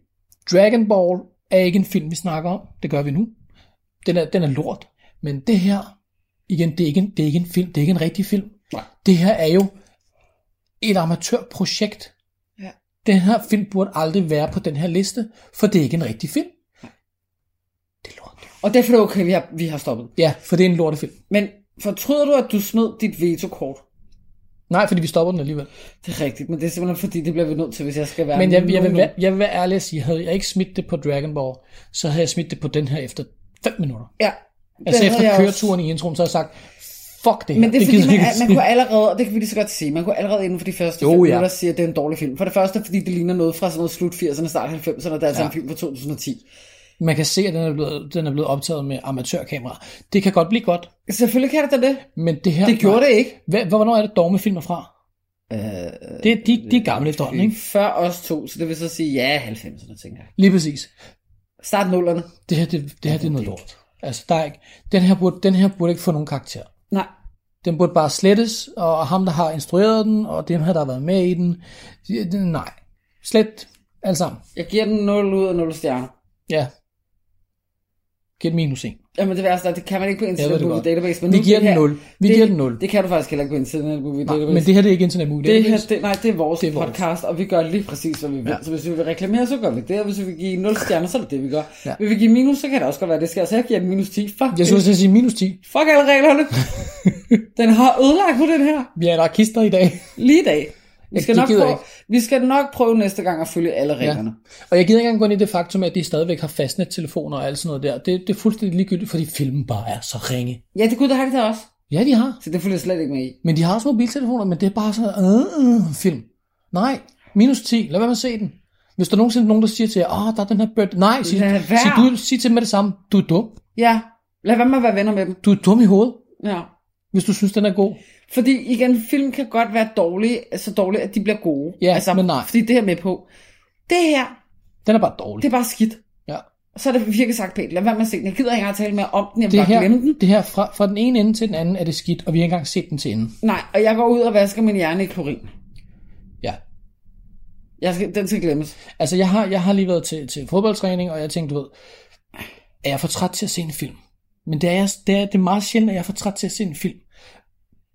Dragon Ball er ikke en film, vi snakker om. Det gør vi nu. Den er, den er lort. Men det her, igen, det er, ikke en, det er ikke en film. Det er ikke en rigtig film. Nej. Det her er jo et amatørprojekt. Ja. Den her film burde aldrig være på den her liste, for det er ikke en rigtig film. Det er lort. Og derfor er det okay, vi har, vi har stoppet. Ja, for det er en lortefilm. Men fortryder du, at du snød dit veto-kort? Nej, fordi vi stopper den alligevel. Det er rigtigt, men det er simpelthen fordi, det bliver vi nødt til, hvis jeg skal være... Men jeg, jeg, vil, nogenlunde- være- jeg vil være ærlig at sige, havde jeg ikke smidt det på Dragon Ball, så havde jeg smidt det på den her efter 5 minutter. Ja. Altså det havde jeg efter også. køreturen i introen, så har jeg sagt, fuck det her. Men det er fordi, gider jeg man, ikke er- se. man kunne allerede, og det kan vi lige så godt sige, man kunne allerede inden for de første Jo, jo, fem ja. minutter sige, at det er en dårlig film. For det første, fordi det ligner noget fra sådan noget slut 80'erne, start 90'erne, og det er altså Ja. en film fra 2010. Man kan se, at den er blevet, den er blevet optaget med amatørkamera. Det kan godt blive godt, Selvfølgelig kan det da det. men det her... Det gjorde det ikke. Hvad, hvornår er det dogmefilm er fra? Øh, det, de, de er gamle efterhånden, ikke? Før os to, så det vil så sige, ja, 90'erne, tænker jeg. Lige præcis. Start 0'erne. Det her, det, det her det er noget lort. Altså, der er ikke, den, her burde, den her burde ikke få nogen karakter. Nej, Den burde bare slettes, og ham, der har instrueret den, og dem her, der har været med i den, de- de- nej. Slet alt sammen. jeg giver den 0 ud af 0 stjerner. Ja. Giv et minus en. Jamen det værste er, det kan man ikke på Jeg ved Internet det Movie godt. Database. Men Vi nu giver det den her- 0. Vi det, giver den 0. Det kan du faktisk heller ikke på Internet Movie Nej, Database. men det her, det er ikke internetmuligt. Det her, det, nej, det er vores Det det er er vores. podcast, og vi gør lige præcis, hvad vi vil. Ja. Ja. Så hvis vi vil reklamere, så gør vi det, og hvis vi vil give 0 stjerner, så er det det, vi gør. Ja. Ja. Vil vi give minus, så kan det også godt være, det sker. Så jeg giver den minus 10. Fuck, Jeg det. skulle til at sige minus 10. fuck alle reglerne. den har ødelagt på den her. Vi er anarkister i dag. Lige i dag. Vi skal, det nok gider jeg prøve, vi skal nok prøve næste gang at følge alle reglerne. Ja. Og jeg gider ikke engang gå ind i det faktum, at de stadigvæk har fastnettelefoner og alt sådan noget der. Det, det er fuldstændig ligegyldigt, fordi filmen bare er så ringe. ja, det kunne det have det også. Ja, de har. Så det følger jeg slet ikke med i. Men de har også mobiltelefoner, men det er bare sådan øh, øh, film. Nej, minus 10. Lad være med at se den. Hvis der nogensinde er nogen, der siger til jer, åh, oh, der er den her bird. Nej, sig, Lad sig, være. du, sig til dem med det samme. Du er dum. Ja, lad være med at være venner med dem. Du er dum i hovedet, Ja. hvis du synes, den er god. Fordi igen, film kan godt være dårlige, så dårlige, at de bliver gode. Ja, men nej. Altså, Fordi det her med på. Det her, Den er bare dårlig. Det er bare skidt. Ja. Så er det virkelig sagt pænt. Lad være med at se den. Jeg gider ikke engang tale mere om den. Jeg vil det bare her, glemme den. det her fra, fra den ene ende til den anden er det skidt, og vi har ikke engang set den til enden. Nej, og jeg går ud og vasker min hjerne i klorin. Ja, Jeg skal, den skal glemmes. Altså, jeg har, jeg har lige været til, til fodboldtræning, og jeg tænkte, du ved, er jeg for træt til at se en film? Men det er, jeg, det er, det er meget sjældent, at jeg er for træt til at se en film.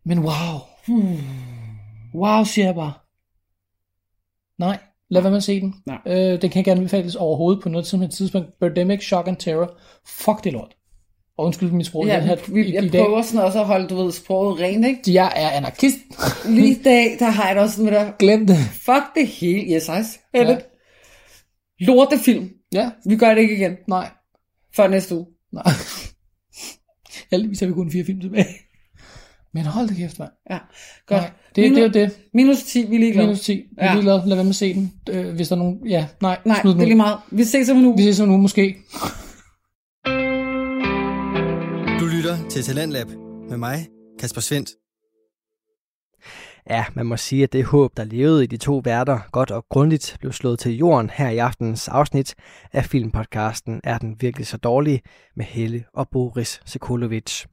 Men wow. Hmm. Wow, siger jeg bare. Nej, lad være med at se den. Nej. Øh, den kan ikke anbefales overhovedet på noget som helst tidspunkt. Birdemic, Shock and Terror. Fuck det lort. Og undskyld mit sprog. Ja, jeg, her, vi, i, jeg i dag. prøver sådan også at holde, du ved, sproget rent, ikke? Jeg er anarkist. Lige i dag, der har jeg det også sådan med dig. Glem det. Fuck det hele. Yes, I Ja. ja. Lortefilm. Ja, Vi gør det ikke igen. nej. Før næste uge. Nej. Heldigvis har vi kun fire film tilbage. Men hold da kæft, mand. Ja, godt. Nej, det, det, det er jo det. Minus 10, vi er ligeglade. Minus 10. Vi Ja. er ligeglade. Lad være med at se den. Øh, hvis der er nogen... Ja, nej. Nej, smid den det er ud. lige meget. Vi ses om en uge. Vi ses om nu måske. Du lytter til Talentlab med mig, Kasper Svendt. Ja, man må sige, at det håb, der levede i de to værter, godt og grundigt blev slået til jorden her i aftens afsnit af filmpodcasten Er den virkelig så dårlig? med Helle og Boris Sekulovic.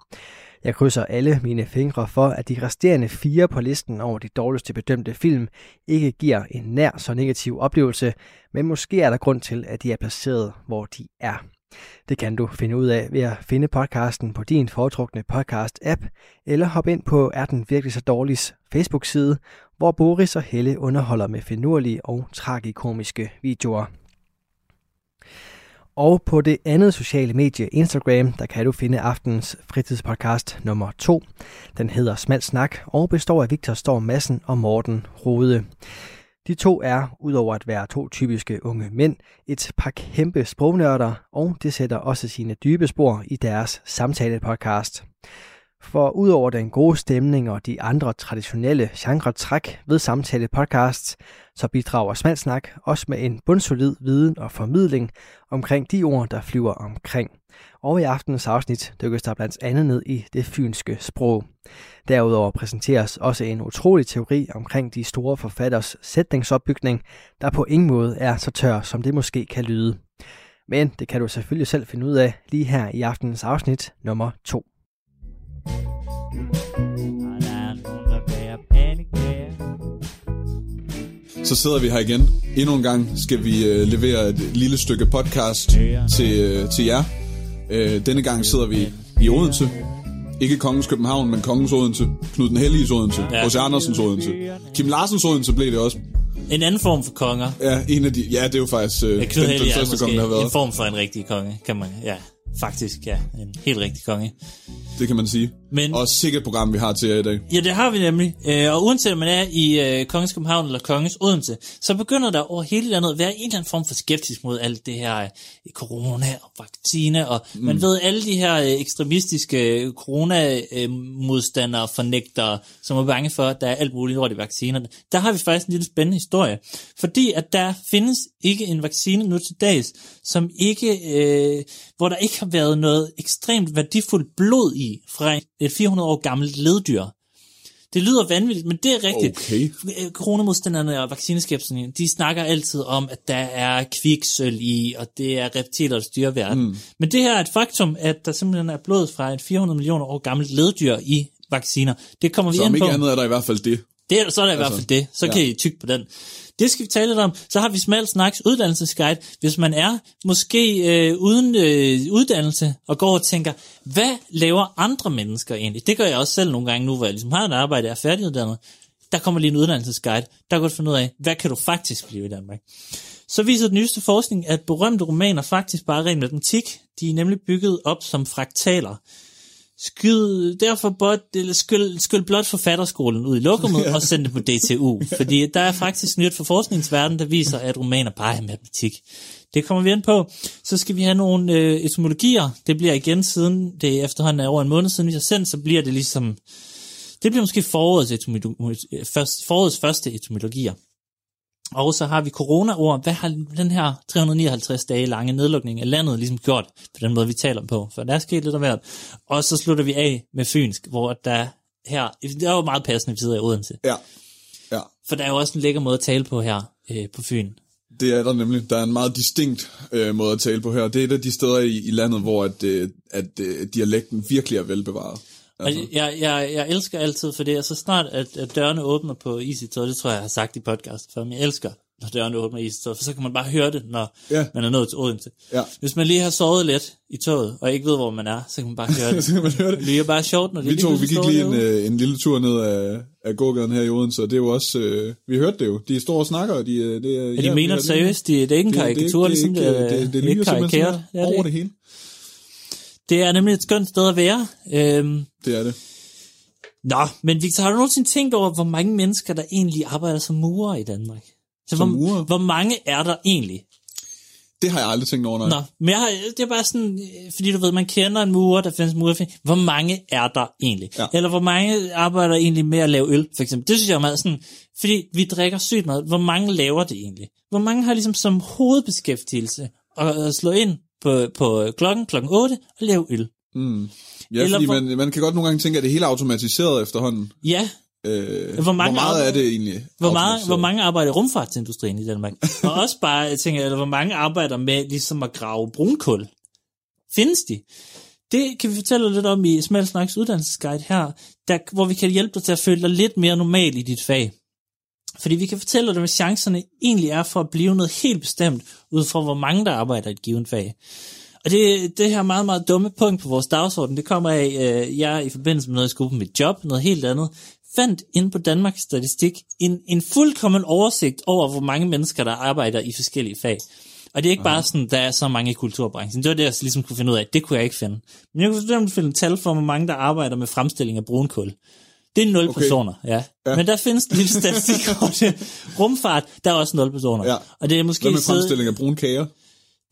Jeg krydser alle mine fingre for, at de resterende fire på listen over de dårligste bedømte film ikke giver en nær så negativ oplevelse, men måske er der grund til, at de er placeret, hvor de er. Det kan du finde ud af ved at finde podcasten på din foretrukne podcast-app, eller hop ind på Er den virkelig så dårligs Facebook-side, hvor Boris og Helle underholder med finurlige og tragikomiske videoer. Og på det andet sociale medie Instagram, der kan du finde aftens fritidspodcast nummer 2. Den hedder Smal Snak og består af Victor Storm Madsen og Morten Rode. De to er, udover at være to typiske unge mænd, et par kæmpe sprognørder, og det sætter også sine dybe spor i deres samtalepodcast. For udover den gode stemning og de andre traditionelle genre-træk ved samtale podcasts, så bidrager Smalsnak også med en bundsolid viden og formidling omkring de ord, der flyver omkring. Og i aftenens afsnit dykkes der blandt andet ned i det fynske sprog. Derudover præsenteres også en utrolig teori omkring de store forfatters sætningsopbygning, der på ingen måde er så tør, som det måske kan lyde. Men det kan du selvfølgelig selv finde ud af lige her i aftenens afsnit nummer 2. Og der er nogen, der bærer pandekager. Så sidder vi her igen. Endnu en gang skal vi øh, levere et lille stykke podcast til, øh, til jer. Øh, denne gang sidder vi i Odense. Ikke Kongens København, men Kongens Odense. Knud den Helliges Odense. Ja. H.C. Andersens Odense. Kim Larsens Odense blev det også. En anden form for konger. Ja, en af de, ja det er jo faktisk øh, den, Ja, den Knud Hellig er første måske konge, der har en været. form for en rigtig konge, kan man, ja, faktisk, ja, en helt rigtig konge. Det kan man sige. Men- Og sikkert program, vi har til jer i dag. Ja, det har vi nemlig. Øh, og uanset om man er i øh, Kongens København eller Kongens Odense, så begynder der over hele landet at være en eller anden form for skeptisk mod alt det her øh, corona og vaccine, og mm. man ved alle de her øh, ekstremistiske øh, corona-modstandere, øh, fornægtere, som er bange for, at der er alt muligt lort i vaccinerne. Der har vi faktisk en lille spændende historie, fordi at der findes ikke en vaccine nu til dags, som ikke, øh, hvor der ikke har været noget ekstremt værdifuldt blod i fra et 400 år gammelt leddyr. Det lyder vanvittigt, men det er rigtigt. Okay. Øh, Coronamodstanderne og vaccineskepsen, de snakker altid om, at der er kviksøl i, og det er reptilers dyreverden. Mm. Men det her er et faktum, at der simpelthen er blod fra et 400 millioner år gammelt leddyr i vacciner. Det kommer vi Så om ind på. ikke andet er der i hvert fald det. Det er, så er der i hvert fald det. Så ja. ja. kan I tykke på den. Det skal vi tale lidt om. Så har vi Smal Snaks uddannelsesguide. Hvis man er måske øh, uden øh, uddannelse og går og tænker, hvad laver andre mennesker egentlig? Det gør jeg også selv nogle gange nu, hvor jeg ligesom har et arbejde og er færdiguddannet. Der kommer lige en uddannelsesguide. Der kan du finde ud af, hvad kan du faktisk blive i Danmark? Så viser den nyeste forskning, at berømte romaner faktisk bare er ren matematik. De er nemlig bygget op som fraktaler. Skyd derfor bot, eller skyld, skyld blot forfatterskolen ud i lokummet og send det på DTU. Fordi der er faktisk nyt for forskningsverdenen, der viser, at romaner bare er matematik. Det kommer vi ind på. Så skal vi have nogle øh, etymologier. Det bliver igen siden, det efterhånden er over en måned siden, vi har sendt, så bliver det ligesom... Det bliver måske forårets, etymo- øh, først, forårets første etymologier. Og så har vi corona-ord. Hvad har den her 359 dage lange nedlukning af landet ligesom gjort på den måde, vi taler på? For der er sket lidt af hvert. Og så slutter vi af med Fynsk, hvor der her... Det er jo meget passende, vi sidder i Odense. Ja. Ja. For der er jo også en lækker måde at tale på her øh, på Fyn. Det er der nemlig. Der er en meget distinkt øh, måde at tale på her. Det er et af de steder i, i landet, hvor at, øh, at øh, dialekten virkelig er velbevaret. Og jeg, jeg, jeg elsker altid for det, og så snart at, at dørene åbner på EasyTour, det tror jeg, jeg har sagt i podcast før, men jeg elsker, når dørene åbner i EasyTour, for så kan man bare høre det, når ja. Ja. man er nået til Odense. Ja. Hvis man lige har sovet lidt i toget, og ikke ved, hvor man er, så kan man bare høre det. Så kan man høre det. Det er bare sjovt, når det Vi lige tog, vi pludselig gik står lige en, derude. øh, en lille tur ned af, af gågaden her i Odense, og det er jo også, øh, vi hørte det jo, de står og snakker, og de, øh, det, Ja, er- de mener vi det har lige- seriøst, de, det er ikke en det er- karikatur, det, er ligesom ikke, øh, det, det, er lyder ikke simpelthen karikeret. sådan Ja, her over det det, hele. det er nemlig et skønt sted at være. Øhm, Det er det. Nå, men Victor, har du nogensinde tænkt over, hvor mange mennesker, der egentlig arbejder som murer i Danmark? Så Som hvor, murer? hvor mange er der egentlig? Det har jeg aldrig tænkt over, nej. Nå, men jeg har, det er bare sådan, øh, fordi du ved, man kender en murer, der findes murer. Hvor mange er der egentlig? Ja. Ja. Eller hvor mange arbejder egentlig med at lave øl, for eksempel? Det synes jeg er meget sådan, fordi vi drikker sygt meget. Hvor mange laver det egentlig? Hvor mange har ligesom som hovedbeskæftigelse at, at slå ind på, på klokken, klokken 8 og lave øl? Mm. Ja, Eller fordi hvor- man, man kan godt nogle gange tænke, at det hele er automatiseret efterhånden. Ja, Øh, Hvor mange hvor meget arbejder- er det egentlig? hvor, meget, automatiseret? hvor mange arbejder i rumfartsindustrien i Danmark? og også bare, jeg tænker, eller hvor mange arbejder med ligesom at grave brunkul? Findes de? Det kan vi fortælle lidt om i Smalsnaks uddannelsesguide her, der, hvor vi kan hjælpe dig til at føle dig lidt mere normal i dit fag. Fordi vi kan fortælle dig, hvad chancerne egentlig er for at blive noget helt bestemt, ud fra hvor mange, der arbejder i et givet fag. Og det, det her meget, meget dumme punkt på vores dagsorden, det kommer af, øh, jeg i forbindelse med noget, jeg skulle på mit job, noget helt andet, fandt inde på Danmarks Statistik en, en fuldkommen oversigt over, hvor mange mennesker, der arbejder i forskellige fag. Og det er ikke bare sådan, der er så mange i kulturbranchen. Det var det, jeg ligesom kunne finde ud af. Det kunne jeg ikke finde. Men jeg kunne for eksempel finde tal for, hvor mange, der arbejder med fremstilling af brunkul. Det er 0 Okay. okay. personer, ja. ja. Men der findes en lille statistik over det. Rumfart, der er også 0 personer. Ja. Og det er måske Hvad med sidde- fremstilling af brune kager?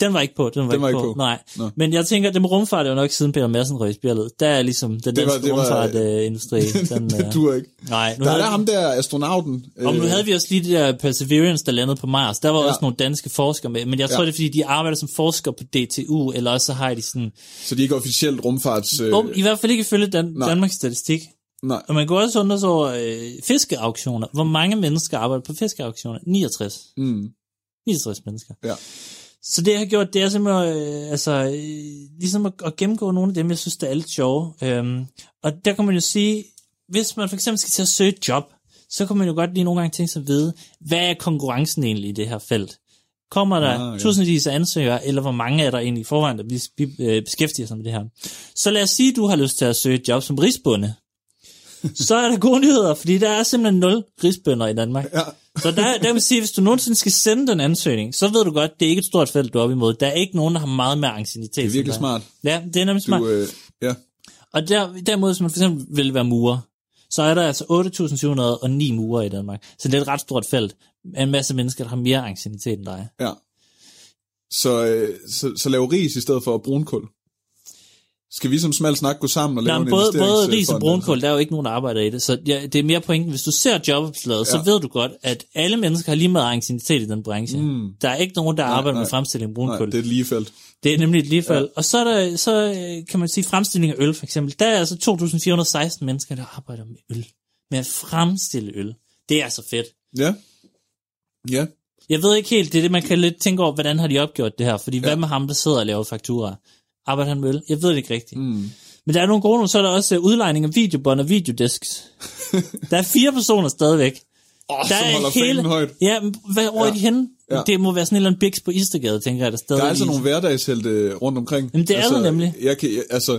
den var ikke på, den var, den ikke, på. Nej. Nå. Men jeg tænker, det med rumfart er jo nok siden Peter Madsen røg i spjældet. Der er ligesom den Det var- danske det var- rumfartindustri. Den, det øh, dur ikke. Nej, nu der er havde der vi- ham der, astronauten. øh, og nu havde vi også lige det der Perseverance, der landede på Mars. Der var Ja. ja. også nogle danske forskere med, men jeg tror, Ja. ja. det er, fordi de arbejder som forskere på DTU, eller også så har de sådan... Så de er ikke officielt rumfarts... Øh, Øh, I hvert fald ikke ifølge Dan- nej. Danmarks Statistik. nej. Og man kan også undre sig over øh, fiskeauktioner. Hvor mange mennesker arbejder på fiskeauktioner? 69. Mm, 69 mennesker. ja. Så det, jeg har gjort, det er simpelthen øh, altså, øh, ligesom at, at gennemgå nogle af dem, jeg synes, der er lidt sjove. Øhm, og der kan man jo sige, hvis man for eksempel skal til at søge et job, så kan man jo godt lige nogle gange tænke sig at vide, hvad er konkurrencen egentlig i det her felt? Kommer der Ah, ah, ja. ja. tusindvis af ansøgere, eller hvor mange er der egentlig i forvejen, der bes- be- øh, beskæftiger sig med det her? Så lad os sige, at du har lyst til at søge et job som risbonde. Så er der gode nyheder, fordi der er simpelthen nul risbønder i Danmark. Ja. Så der, der kan man sige, at hvis du nogensinde skal sende den ansøgning, så ved du godt, det er ikke et stort felt, du er op imod. Der er ikke nogen, der har meget mere angstinitet. Det er virkelig smart. Ja, det er nemlig smart. Du, øh, ja. Og der, derimod, hvis man for eksempel vil være murer, så er der altså 8.709 murer i Danmark. Så det er et ret stort felt. En masse mennesker, der har mere angstinitet end dig. Ja. Så, øh, så, så lave ris i stedet for brunkul. Skal vi som smal snak gå sammen og lave Der er en både, både investeringsfond ris og eller brunkål, der er jo ikke nogen, der arbejder i det. Så ja, det er mere pointen, hvis du ser jobopslaget, ja. så ved du godt, at alle mennesker har lige meget angstinitet i den branche. Mm. Der er ikke nogen, der arbejder nej. med fremstilling af sådan noget? brunkål. Altså, Nej, det er et ligefelt. Det er nemlig et ligefald. Ja. Og så, er der, så øh, kan man sige fremstilling af øl, for eksempel. Der er altså 2.416 mennesker, der arbejder med øl. Med at fremstille øl. Det er altså fedt. Ja. Ja. Jeg ved ikke helt, det er det, man kan lidt tænke over, hvordan har de opgjort det her? Fordi ja. hvad med ham, der sidder og laver fakturer? Arbejder han med øl? Jeg ved det ikke rigtigt. Mm. Men der er nogle gode nogle, så er der også øh, udlejning af videobånd og videodisks. der er fire personer stadigvæk. Åh, så holder fanen højt. Ja, men hvad, hvor ja. er de henne? Ja. Ja. Det må være sådan en eller anden biks på Istergade, tænker jeg, der stadig Der er altså lige- nogle hverdagshelte øh, rundt omkring. Jamen, det er altså, der nemlig. Jeg, kan, jeg, altså,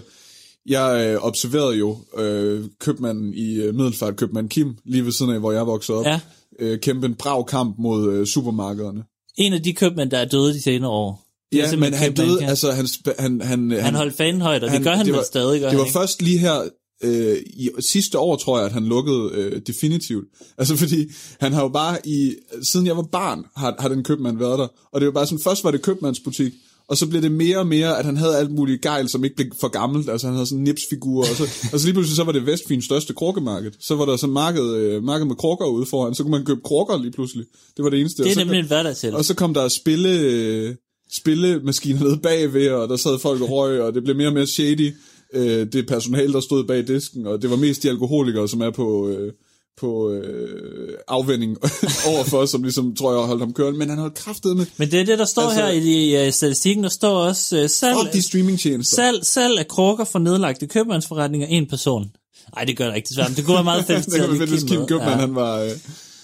jeg øh, observerede jo øh, købmanden i øh, Middelfart, købmand Kim, lige ved siden af, hvor jeg voksede op, Ja. øh, kæmpe en brav kamp mod øh, supermarkederne. En af de købmænd, der er døde de senere år. Det er Ja, men simpelthen han købmand, døde, ja. altså, han, sp- han, han, han holdt fanen højt, og det gør han vel stadig, gør Det var han, ikke? først lige her øh, i sidste år, tror jeg, at han lukkede øh, definitivt. Altså fordi, han har jo bare i, siden jeg var barn, har, har den købmand været der. Og det var bare sådan, først var det købmandsbutik, og så blev det mere og mere, at han havde alt muligt gejl, som ikke blev for gammelt. Altså han havde sådan nipsfigurer, og så, og så lige pludselig så var det Vestfyns største krukkemarked. Så var der sådan marked, øh, marked med krukker ude foran, så kunne man købe krukker lige pludselig. Det var det eneste. Det Og er så nemlig kom- en hverdagshelt. og så kom der spille, øh, spillemaskiner nede bagved, og der sad folk og røg, og det blev mere og mere shady. Øh, det personale, der stod bag disken, og det var mest de alkoholikere, som er på, øh, på øh, afvending overfor, som ligesom, tror jeg, holdt ham kørende. Men han holdt kraftet med Men det er det, der står Altså- altså, her i uh, statistikken. Der står også uh, salg, fuck de streamingtjenester. salg, salg af krukker for nedlagte købmandsforretninger en person. Nej, det gør der ikke desværre, men det kunne være meget fedt. det kan man fedt, hvis Kim Købmann, ja. han var... Øh,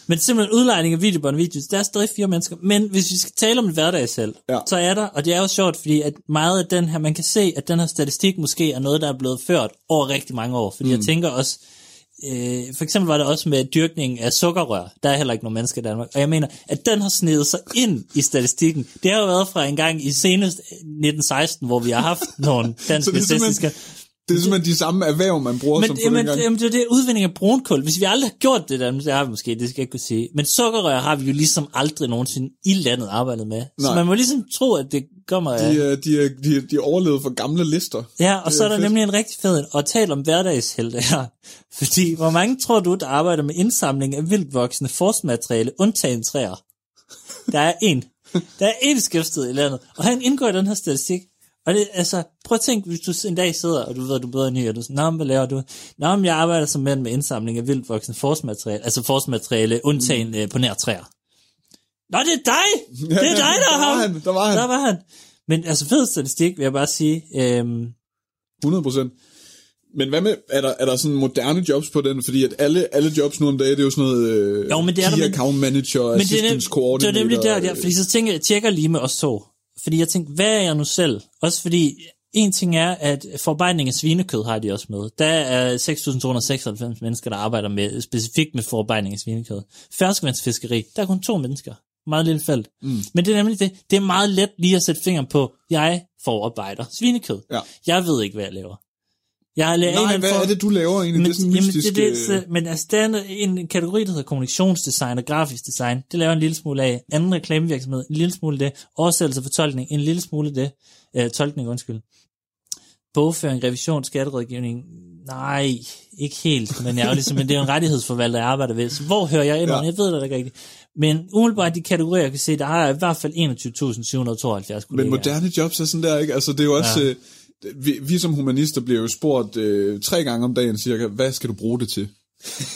Men simpelthen udlejning af videobånd og videos, der er stadig fire mennesker. Men hvis vi skal tale om et hverdagsheld, Ja. ja. så er der, og det er jo sjovt, fordi at meget af den her, man kan se, at den her statistik måske er noget, der er blevet ført over rigtig mange år. Fordi mm. jeg tænker også, øh, for eksempel var det også med dyrkningen af sukkerrør. Der er heller ikke nogen mennesker i Danmark. Og jeg mener, at den har snedet sig ind i statistikken. Det har jo været fra en gang i senest 1916, hvor vi har haft nogle så danske det er statistikker. simpelthen Det er simpelthen de samme erhverv, man bruger Men, som på jamen, dengang. jamen, det er det udvinding af brunkul. Hvis vi aldrig har gjort det der, det har vi måske, det skal jeg ikke kunne sige. Men sukkerrør har vi jo ligesom aldrig nogensinde i landet arbejdet med. Nej. Så Nej. man må ligesom tro, at det kommer af... De, er- de, er- de, er- de overlevede for gamle lister. Ja, og Det så er der fedt. nemlig en rigtig fed en, og tal om hverdagshelte her. Fordi, hvor mange tror du, der arbejder med indsamling af vildvoksende forstmateriale, undtagen træer? Der er en. Der er en skæftet i landet, og han indgår i den her statistik. Og det, altså, prøv at tænke, hvis du en dag sidder, og du ved, at du er bedre end jeg, og du siger, "Nå, men hvad laver du? Nå, men jeg arbejder som mand med indsamling af vildvoksende forstmateriale, altså forstmateriale, undtagen mm. på nær træer. Nå, det er dig! Det er dig, der der er var ham! han, der var han. Der var han. Men altså, fed statistik, vil jeg bare sige. Øhm, 100 procent. Men hvad med, er der, er der sådan moderne jobs på den? Fordi at alle, alle jobs nu om dagen, det er jo sådan noget øh, Jo, men det er der, key men- account manager, men Men det er, assistance nem, det coordinator. er nemlig der, ja, øh, fordi så tænker jeg, tjekker lige med os to. Fordi jeg tænkte, hvad er jeg nu selv? Også fordi, en ting er, at forarbejdning af svinekød har de også med. Der er 6.296 mennesker, der arbejder med, specifikt med forarbejdning af svinekød. Ferskvandsfiskeri, der er kun to mennesker. Meget lille felt. Mm. Men det er nemlig det, det er meget let lige at sætte fingeren på, jeg forarbejder svinekød. Ja. Jeg ved ikke, hvad jeg laver. Jeg har lavet en eller Nej, anden hvad form- er det, du laver egentlig? det er sådan mystisk... øh, det, er det, så, men altså, der er en en kategori, der hedder kommunikationsdesign og grafisk design. Det laver en lille smule af. Anden reklamevirksomhed, en lille smule det. Oversættelse og fortolkning, en lille smule det. Øh, tolkning, undskyld. Bogføring, revision, skatterådgivning. Nej, ikke helt, men jeg er jo ligesom, men det er jo en rettighedsforvalter, jeg arbejder ved. Så hvor hører jeg ind? Ja. Ja. Jeg ved det da ikke rigtigt. Men umiddelbart de kategorier, jeg kan se, der har jeg i hvert fald 21.772 kollegaer. Men moderne jobs er sådan der, ikke? Altså, det er jo også... Ja. Ja. Vi, vi som humanister bliver jo spurgt øh, tre gange om dagen cirka, hvad skal du bruge det til?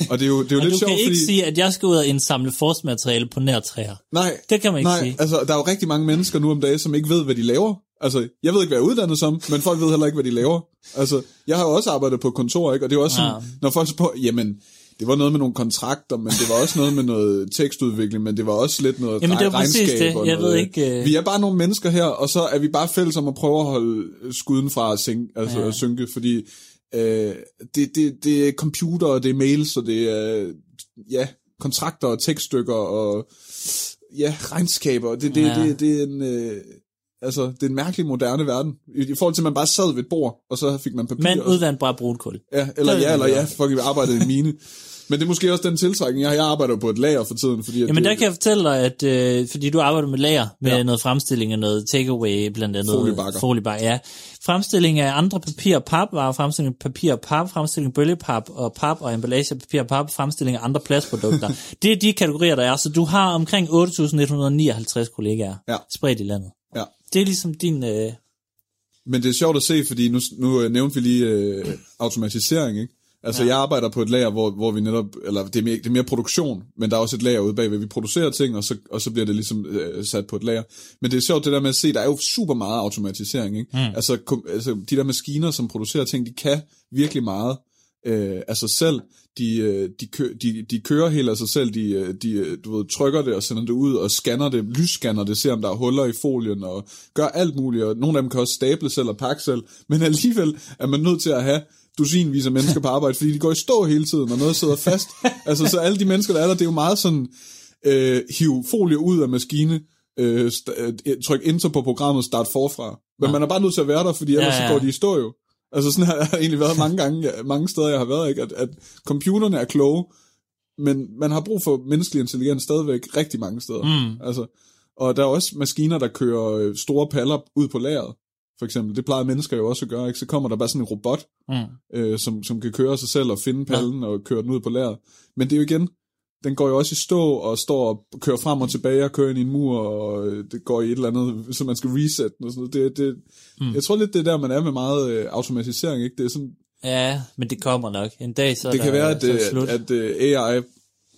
Og det er jo, det er jo og lidt du sjovt, kan ikke fordi... sige, at jeg skal ud og indsamle forskmateriale på nær træer. Nej, Det kan man ikke nej, sige. altså, der er jo rigtig mange mennesker nu om dagen, som ikke ved, hvad de laver. Altså, jeg ved ikke, hvad jeg er uddannet som, men folk ved heller ikke, hvad de laver. Altså, jeg har jo også arbejdet på kontor, ikke? Og det er jo også sådan, Ja. ja. når folk spørger, jamen, det var noget med nogle kontrakter, men det var også noget med noget tekstudvikling, men det var også lidt noget Jamen, det er jo præcis regnskab. det. og Jeg ved noget. ikke, øh, Vi er bare nogle mennesker her, og så er vi bare fælles om at prøve at holde skuden fra at, sink, altså Ja. ja. at synke, fordi øh, det, det, det er computer, og det er mails, og det er ja, kontrakter og tekststykker og ja, regnskaber. Det, det, Ja. ja. det, det, er en, øh, altså, det er en mærkelig moderne verden. I, I forhold til, at man bare sad ved et bord, og så fik man papir. Men og- udvandt bare brunkul. Ja, eller Det er ja, eller det. ja, fucking arbejdede i mine. Men det er måske også den tiltrækning, jeg har. Jeg arbejder jo på et lager for tiden, fordi... at Jamen det, der kan jeg fortælle dig, at øh, fordi du arbejder med lager, med ja. Ja. noget fremstilling af noget takeaway, blandt andet Foliebakker. foliebakker ja. Fremstilling af andre papir og papvarer, fremstilling af papir og pap, fremstilling af bølgepap og pap og emballage af papir og pap, fremstilling af andre plastprodukter. det er de kategorier, der er, så du har omkring 8.159 kollegaer Ja. spredt i landet. Ja. Det er ligesom din... Øh, Men det er sjovt at se, fordi nu, nu øh, nævnte vi lige øh, automatisering, ikke? Altså, ja. jeg arbejder på et lager, hvor, hvor vi netop, eller det er, mere, det er mere produktion, men der er også et lager ude bagved, vi producerer ting, og så, og så bliver det ligesom øh, sat på et lager. Men det er sjovt det der med at se, der er jo super meget automatisering, ikke? Mm. Altså, kom, altså, de der maskiner, som producerer ting, de kan virkelig meget øh, af sig selv. De, øh, de, kø, de, de kører helt af sig selv, de, øh, de øh, du ved, trykker det og sender det ud og scanner det, lysscanner det, ser om der er huller i folien og gør alt muligt, og nogle af dem kan også stable selv og pakke selv, men alligevel er man nødt til at have dusinvis af mennesker på arbejde, fordi de går i stå hele tiden, og noget sidder fast. altså, så alle de mennesker, der er der, det er jo meget sådan, øh, hiv folie ud af maskine, øh, st- øh, tryk enter på programmet, start forfra. Men man er bare nødt til at være der, fordi Ja, ellers ja, ja. ja. så går de i stå jo. Altså sådan har jeg egentlig været mange gange, jeg- mange steder jeg har været, ikke? At, at computerne er kloge, men man har brug for menneskelig intelligens stadigvæk rigtig mange steder. Mm. Altså, og der er også maskiner, der kører øh, store paller ud på lageret, for eksempel. Det plejer mennesker jo også at gøre, ikke? Så kommer der bare sådan en robot, mm. øh, som, som kan køre sig selv og finde pallen ja. og køre den ud på lageret. Men det er jo igen, den går jo også i stå og står og kører frem og tilbage og kører ind i en mur, og øh, det går i et eller andet, så man skal reset den og sådan noget. Det, det, Hmm. mm. Jeg tror lidt, det er der, man er med meget øh, automatisering, ikke? Det er sådan, Ja, men det kommer nok. En dag så er det kan der, være, at, så er øh, det slut. at, at øh, AI...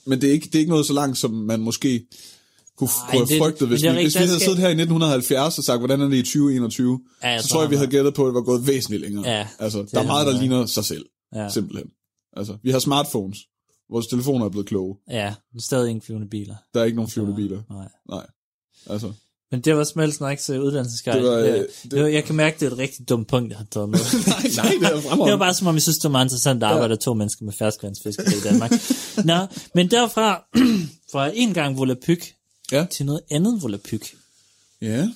Men det er, ikke, det er ikke noget så langt, som man måske kunne, Nej, Ej, kunne det- have frygtet, hvis, men det er vi, rigtigt, hvis vi der havde skal- siddet her i 1970 og sagt, hvordan er det i 2021, Ja, jeg så tror, tror jeg, vi han havde gættet på, at det var gået væsentligt længere. Ja, altså, det der er er meget, der nok. ligner sig selv, Ja. ja. simpelthen. Altså, vi har smartphones. Vores telefoner er blevet kloge. Ja, men stadig ingen flyvende biler. Der er ikke nogen flyvende biler. Nej. Nej. Altså, Men det var smelt snakks øh, uddannelsesguide. Det var, øh, Ja. det- det var, jeg kan mærke, det er et rigtig dumt punkt, jeg har taget med. nej, nej, det er Det var fremragende. bare som om, jeg synes, det var meget interessant, at arbejde to mennesker med ferskvandsfiskeri i Danmark. Nå, men derfra, fra en gang volapyk Ja. til noget andet volapyk. Ja,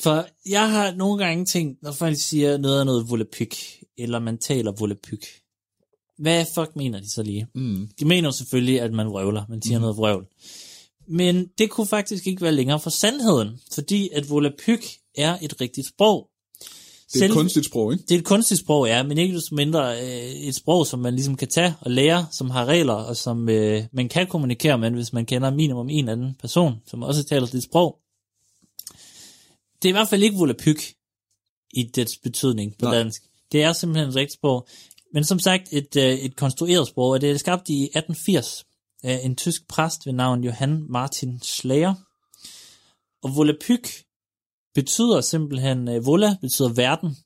For jeg har nogle gange tænkt, når folk siger noget er noget volapyk, eller man taler volapyk. Hvad fuck mener de så lige? Mm. De mener jo selvfølgelig, at man vrøvler, man siger mm. noget vrøvl. Men det kunne faktisk ikke være længere for sandheden, fordi at volapyk er et rigtigt sprog. Det er et kunstigt sprog, ikke? Det er et kunstigt sprog, ja, men ikke desto mindre øh, et sprog, som man ligesom kan tage og lære, som har regler, og som øh, man kan kommunikere med, hvis man kender minimum en anden person, som også taler dit sprog. Det er i hvert fald ikke volapyk i dets betydning på Nej. Nej. dansk. Det er simpelthen et rigtigt sprog. Men som sagt, et, øh, et konstrueret sprog, og det er skabt i 1880 af en tysk præst ved navn Johann Martin Slager. Og volapyk betyder simpelken, øh, vola betyder verden,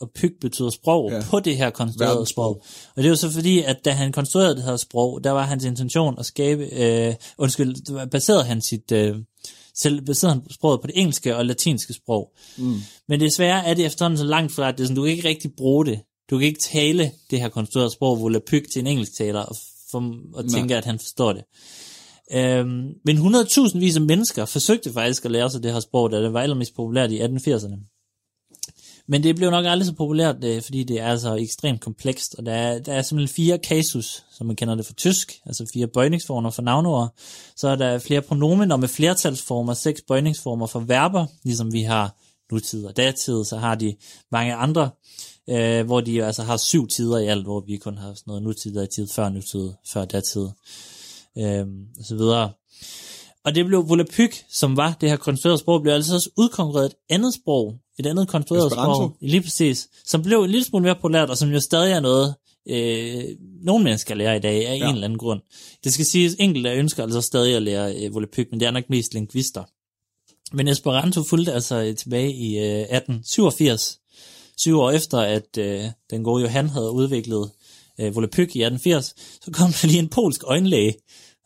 og pyk betyder sprog Ja. ja. på det her konstruerede Verdenssprog. sprog. Og det er jo så fordi, at da han konstruerede det her sprog, der var hans intention at skabe, øh, undskyld, det var- baserede han sit, øh, selv baserede han sproget på det engelske og latinske sprog. Mm. Men desværre er det efterhånden så langt fra, at det er sådan, du kan ikke rigtig bruge det. Du kan ikke tale det her konstruerede sprog, volapyk, til en engelsktaler og, for, og tænke, at han forstår det. Øhm, men 100.000 vis af mennesker forsøgte faktisk at lære sig det her sprog, da det var allermest populært i 1880'erne. Men det blev nok aldrig så populært, øh, fordi det er altså ekstremt komplekst, og der er, der er simpelthen fire kasus, som man kender det fra tysk, altså fire bøjningsformer for navnord. Så er der flere pronomener med flertalsformer, seks bøjningsformer for verber, ligesom vi har nutid og datid, så har de mange andre, øh, hvor de altså har syv tider i alt, hvor vi kun har sådan noget nutid, datid, før nutid, før datid øh, og så videre. Og det blev volapyk, som var det her konstruerede sprog, blev altså også udkonkurreret et andet sprog, et andet konstrueret Esperanto. sprog, lige præcis, som blev en lille smule mere populært, og som jo stadig er noget, øh, nogle mennesker lærer i dag af ja. Ja. en eller anden grund. Det skal siges, enkelte ønsker altså stadig at lære øh, volapyk, men det er nok mest lingvister. Men Esperanto fulgte altså øh, tilbage i øh, 1887, syv år efter, at øh, den gode Johan havde udviklet øh, Volapyk i 1880, så kom der lige en polsk øjenlæge,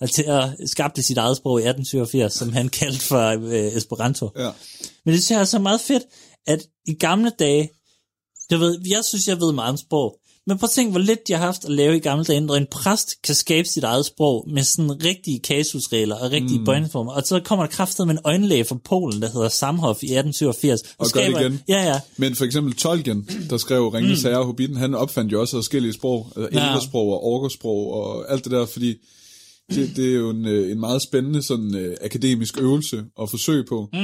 og til at skabte sit eget sprog i 1887, som han kaldte for øh, Esperanto. Ja. Men det synes jeg er så meget fedt, at i gamle dage, du ved, jeg synes, jeg ved meget om sprog, men prøv at tænke, hvor lidt jeg har haft at lave i gamle dage, når en præst kan skabe sit eget sprog med sådan rigtige kasusregler og rigtige mm. bøjningsformer. Og så kommer der kraftet med en øjenlæge fra Polen, der hedder Samhoff i 1887. Og gør det igen. Ja, ja. Men for eksempel Tolkien, der skrev Ringens Herre og Hobbiten, han opfandt jo også forskellige sprog, altså Ja. elversprog og orkersprog og alt det der, fordi det, det er jo en, øh, en meget spændende sådan øh, akademisk øvelse at forsøge på. Mm.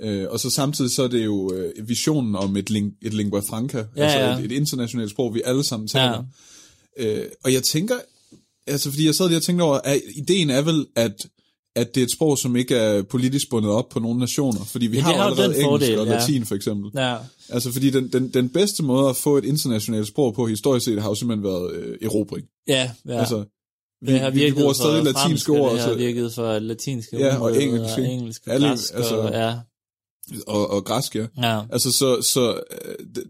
Øh, og så samtidig så er det jo øh, visionen om et, ling, et lingua franca, ja, altså ja. Et, et internationalt sprog, vi alle sammen taler. Ja. Øh, og jeg tænker, altså fordi jeg sad lige og tænkte over, at ideen er vel, at at det er et sprog, som ikke er politisk bundet op på nogle nationer, fordi vi ja, det har jo har jo allerede den engelsk fordel, og ja. latin for eksempel. ja. Altså, fordi den, den, den bedste måde at få et internationalt sprog på historisk set, har jo simpelthen været øh, erobring. Ja, ja. Ja. Altså, vi, det har vi, vi virket bruger for stadig fransk, latinske og ord, Det har altså, virket for latinske Ja, og områder, engelsk, og ikke? engelsk og Alle- græsk, altså- og, ja, og, og græsk, ja. ja. Altså, så... så øh, det,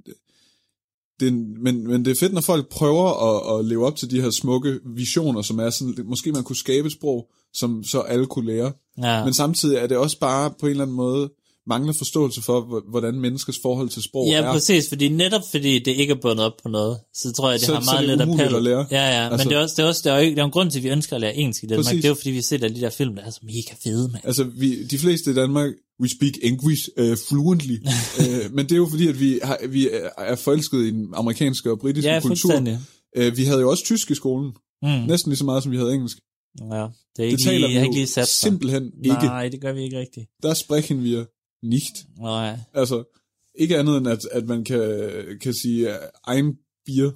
det, men, men det er fedt, når folk prøver at, at leve op til de her smukke visioner, som er sådan, måske man kunne skabe et sprog, som så alle kunne lære. ja. Ja. Men samtidig er det også bare på en eller anden måde mangler forståelse for, h- hvordan menneskers forhold til sprog Ja, er. præcis, fordi netop fordi det ikke er bundet op på noget, så tror jeg, det Så- har så meget det er lidt umuligt appel. at lære. Ja, ja, men Altså- det er også, det er også, der er jo ikke, der er jo en grund til, at vi ønsker at lære engelsk i Danmark. Præcis. Det er jo fordi, vi ser der de der film, der er så mega fede, mand. Altså, vi, de fleste i Danmark, we speak English uh, fluently, uh, men det er jo fordi, at vi, har, vi er- er forelsket i den amerikanske og britiske Ja, ligesom kultur. fuldstændig. Uh, vi havde jo også tysk i skolen, Mm. næsten lige så meget, som vi havde engelsk. Ja, det er Det ikke taler lige, jeg har vi ikke jo lige sat sig. simpelthen ikke. Nej, det gør vi ikke rigtigt. Der sprechen vi nicht. Nej, Altså, ikke andet end, at, at man kan, kan sige øh, ein Bier,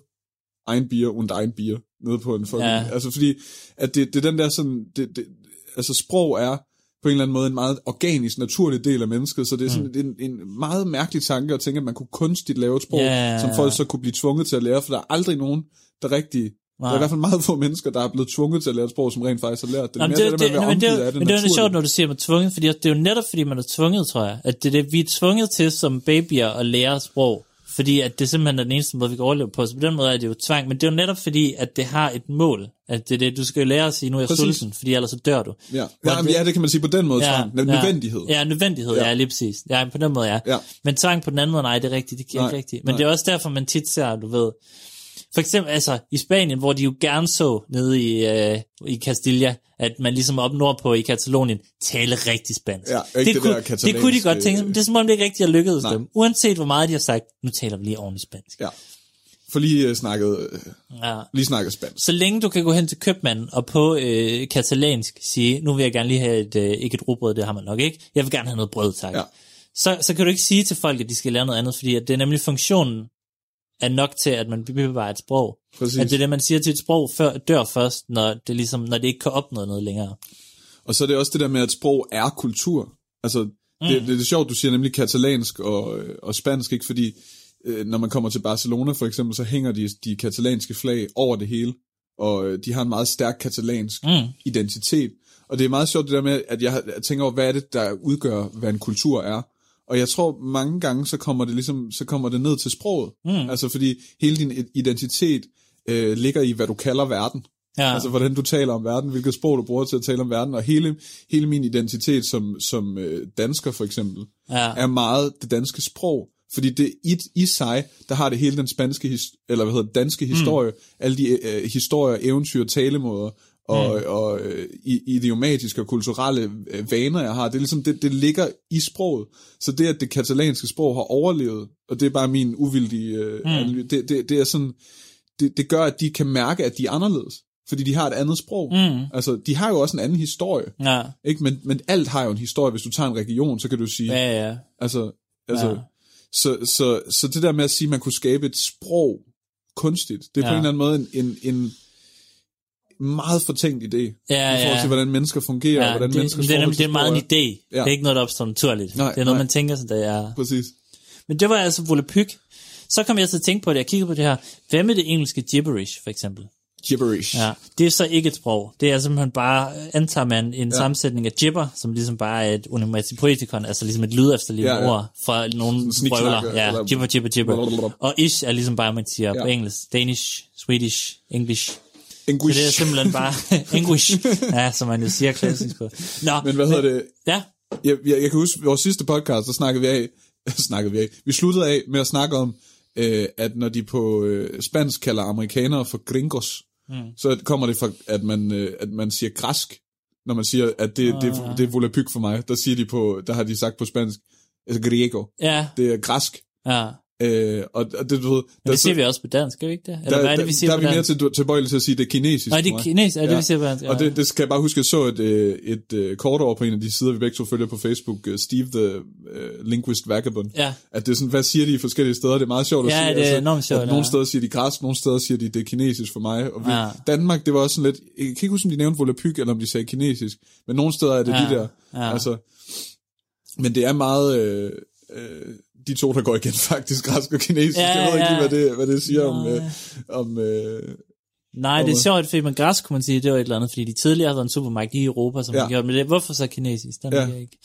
ein Bier und ein Bier, nede på en fucking... Ja. Ja. Altså, fordi at det, det er den der sådan... Det, det, altså, sprog er på en eller anden måde en meget organisk, naturlig del af mennesket, så det er sådan mm. en, en meget mærkelig tanke at tænke, at man kunne kunstigt lave et sprog, Ja. som folk så kunne blive tvunget til at lære, for der er aldrig nogen, der rigtig... Nej. Der er i Nej. hvert fald meget få mennesker, der er blevet tvunget til at lære et sprog, som rent faktisk har lært det. Nå, men Mere det, det, med at være men det, er omgivet jo- af men det er jo lidt naturligt. sjovt, når du siger, at man er tvunget, fordi det er jo netop, fordi man er tvunget, tror jeg, at det er det, vi er tvunget til som babyer at lære sprog, fordi at det simpelthen er den eneste måde, vi kan overleve på, så på den måde er det jo tvang, men det er jo netop fordi, at det har et mål, at det er det, du skal jo lære at sige, nu er jeg Præcis. Præcis. sulten, fordi ellers så dør du. Ja. Ja, men, ja, det kan man sige på den måde. Ja, ja. Nødvendighed. Ja, nødvendighed, ja, Ja. ja lige præcis. Ja, på den måde, ja. Ja. Men tvang på den anden måde, nej, det er rigtigt, det giver Nej, ikke rigtigt. Men nej. nej. det er også derfor, man tit ser, du ved, for eksempel altså i Spanien, hvor de jo gerne så nede i, øh, i Castilla, at man ligesom op nordpå i Katalonien tale rigtig spansk. Ja, ikke det kunne, der det kunne de katalanske- godt tænke sig, men det er som om det ikke rigtig har lykkedes Nej. dem. Uanset hvor meget de har sagt, nu taler vi lige ordentligt spansk. Ja. for lige øh, snakket, øh, Ja. lige snakket spansk. Så længe du kan gå hen til købmanden og på øh, katalansk sige, nu vil jeg gerne lige have et, øh, ikke et rugbrød, det har man nok ikke, jeg vil gerne have noget brød, tak. Ja. Så, så kan du ikke sige til folk, at de skal lære noget andet, fordi at det er nemlig funktionen er nok til, at man bevarer et sprog. Præcis. At det er det, man siger til et sprog, før, dør først, når det, ligesom, når det ikke kan opnå noget længere. Og så er det også det der med, at sprog er kultur. Altså, det, mm. det, det er sjovt, du siger nemlig katalansk og, øh, og spansk, ikke? Fordi øh, når man kommer til Barcelona for eksempel, så hænger de, de katalanske flag over det hele. Og øh, de har en meget stærk katalansk mm. identitet. Og det er meget sjovt det der med, at jeg, har- jeg tænker over, hvad er det, der udgør, hvad en kultur er. Og jeg tror, mange gange, så kommer det, ligesom, så kommer det ned til sproget. Mm. Altså, fordi hele din i- identitet øh, ligger i, hvad du kalder verden. Ja. Altså, hvordan du taler om verden, hvilket sprog du bruger til at tale om verden, og hele, hele min identitet som, som øh, dansker for eksempel, Ja. er meget det danske sprog. Fordi det i, i sig, der har det hele den spanske, his, eller hvad hedder det, danske historie, mm. alle de øh, historier, eventyr, talemåder, og, mm. og øh, i- idiomatiske og kulturelle øh, vaner, jeg har, det er ligesom, det, det ligger i sproget. Så det, at det katalanske sprog har overlevet, og det er bare min uvildige øh, mm. det, det, det er sådan, det, det gør, at de kan mærke, at de er anderledes, fordi de har et andet sprog. Mm. Altså, de har jo også en anden historie, Ja, ikke? Men, men alt har jo en historie. Hvis du tager en region, så kan du sige, ja, ja. altså, altså Ja. så, så, så det der med at sige, at man kunne skabe et sprog kunstigt, det er ja. på Ja. en eller anden måde en, en, en meget fortænkt idé, Ja, i forhold til, ja. hvordan mennesker fungerer, og ja hvordan det, menneskers det, er, forhold nemlig- til det er meget en sprog er. idé. Ja. Det er ikke noget, der opstår naturligt. Nej, det er noget, nej. man tænker sig, der er... Præcis. Men det var altså volapyk. Så kom jeg til at tænke på det, jeg kiggede på det her. Hvad med det engelske gibberish, for eksempel? Gibberish. Ja, det er så ikke et sprog. Det er simpelthen bare, antager man, en ja. sammensætning af gibber, som ligesom bare er et onomatopoetikon, altså ligesom et lyd efter Ja, ja. ord fra nogle sniksnak, brøvler. Ja, eller- gibber, gibber, gibber. Blablabla. Og ish er ligesom bare, man siger ja. på Ja. engelsk. Danish, Swedish, English. Så Anguish. det er simpelthen bare English, ja, som man jo siger klassisk på. Nå, Men hvad hedder det? Ja, Jeg, jeg, jeg kan huske, vores sidste podcast, der snakkede vi af, snakkede vi af, vi sluttede af med at snakke om, øh, at når de på øh, spansk kalder amerikanere for gringos, mm. så kommer det fra, at man, øh, at man siger græsk, når man siger, at det, oh, det, Ah. det, det er volapyk for mig. Der siger de på, der har de sagt på spansk, altså griego, ja, det er græsk. ja. Øh, og, og det, du ved, Men det siger vi også på dansk, gør vi ikke det? Eller der, hvad er det, vi siger der, der er på vi mere dansk? til, tilbøjelige til at sige, det er kinesisk. Nej, det tror er jeg. kinesisk, ja, det vi siger på dansk. Og det, det skal jeg bare huske, jeg så et, øh, et, et kort over på en af de sider, vi begge to følger på Facebook, øh, Steve the uh, Linguist Vagabond, Ja. at det er sådan, hvad siger de i forskellige steder, det er meget sjovt at Ja, sige. altså, det er enormt sjovt, at ja. nogle steder siger de græsk, nogle steder siger de, det er kinesisk for mig. Og vi, ja. Ja. Danmark, det var også sådan lidt, jeg kan ikke huske, om de nævnte volapyk, eller om de sagde kinesisk, men nogle steder er det Ja, de der. ja. Altså, men det er meget... Øh, øh, de to, der går igen faktisk, græsk og kinesisk. Ja, jeg ved ikke ja. lige, hvad det, hvad det siger om, Nej. øh, om øh, Nej, det er Hvorfor? sjovt, fordi man græsk kunne man sige, det var et eller andet, fordi de tidligere har været en supermagt i Europa, som Ja. ja. har gjort med det. Hvorfor så kinesisk? Den Ja. ja. jeg ikke.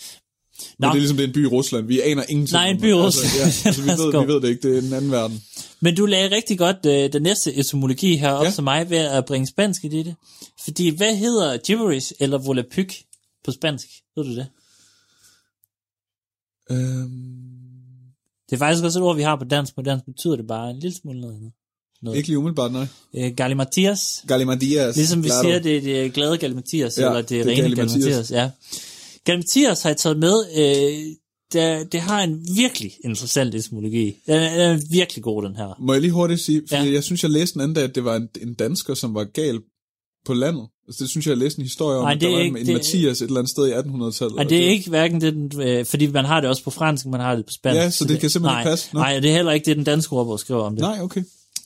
Nå. Men det er ligesom, det er en by i Rusland. Vi aner ingenting. Nej, en om by i det. Rusland. Altså, ja, altså, vi, ved, vi ved det ikke. Det er den anden verden. Men du lagde rigtig godt øh, den næste etymologi her op Ja. ja. til mig ved at bringe spansk i det. Fordi hvad hedder gibberish eller volapyk på spansk? Ved du det? Øhm, Det er faktisk også et ord, vi har på dansk. På dansk betyder det bare en lille smule noget andet. ikke lige umiddelbart, nej. Øh, Galimatias. Galimadias. Ligesom vi siger, det er det glade Galimatias, Ja, ja, eller det, det er det rene Galimatias. Galimatias. Ja. Galimatias har jeg taget med, øh, der, det har en virkelig interessant etymologi. Den er, den er virkelig god, den her. Må jeg lige hurtigt sige, for ja. Ja. jeg synes, jeg læste en anden dag, at det var en, en dansker, som var gal på landet. Altså, det synes jeg, jeg læste en historie om, Nej, det at der er var ikke- en det- Mathias et eller andet sted i 1800-tallet. Og det er ikke hverken det, den, øh, fordi man har det også på fransk, man har det på spansk. Ja, så det kan simpelthen nej, ikke passe. Nå. Nej, og det er heller ikke det, den danske ordbog skriver om det. Nej, okay.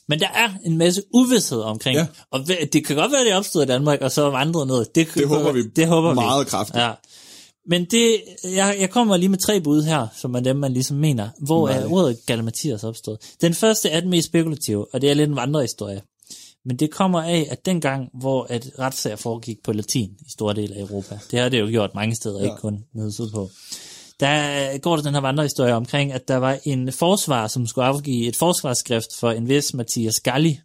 Men der er en masse uvidshed omkring, Ja. ja. og hva- det kan godt være, det er opstået i Danmark, og så vandret ned. Det, kan Det godt håber være- vi det håber meget vi. kraftigt. Ja. Men det, jeg, jeg kommer lige med tre bud her, som er dem, man ligesom mener. Hvor er ordet Galimatias opstået? Den første er den mest spekulative, og det er lidt en vandrehistorie. Men det kommer af, at dengang, hvor at retssager foregik på latin i store dele af Europa, det har det jo gjort mange steder, ja. ikke kun nede sydpå, der går der den her vandrehistorie omkring, at der var en forsvar, som skulle afgive et forsvarsskrift for en vis Mathias Galli.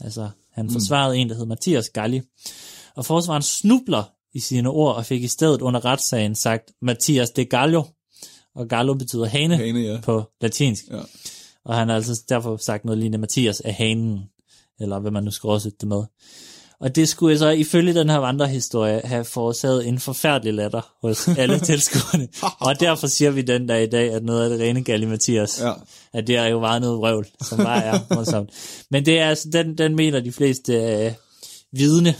Altså, han forsvarede en, der hed Mathias Galli. Og forsvaren snubler i sine ord og fik i stedet under retssagen sagt Mathias de Gallo. Og Gallo betyder hane, Hane, ja. på latinsk. Ja. Og han har altså derfor sagt noget lignende Mathias af hanen, eller hvad man nu skal oversætte det med. Og det skulle så ifølge den her vandrehistorie have forårsaget en forfærdelig latter hos alle tilskuerne. og derfor siger vi den dag i dag, at noget af det rene Galli Mathias, Ja. at det er jo bare noget vrøvl, som bare er morsomt. Men det er altså, den, den mener de fleste øh, vidne,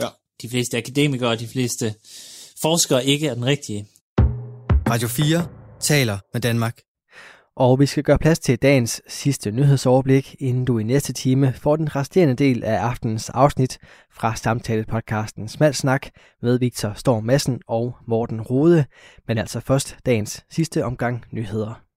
Ja. de fleste akademikere og de fleste forskere ikke er den rigtige. Radio 4 taler med Danmark. Og vi skal gøre plads til dagens sidste nyhedsoverblik, inden du i næste time får den resterende del af aftenens afsnit fra samtalepodcasten Smalsnak med Victor Storm Madsen og Morten Rode, men altså først dagens sidste omgang nyheder.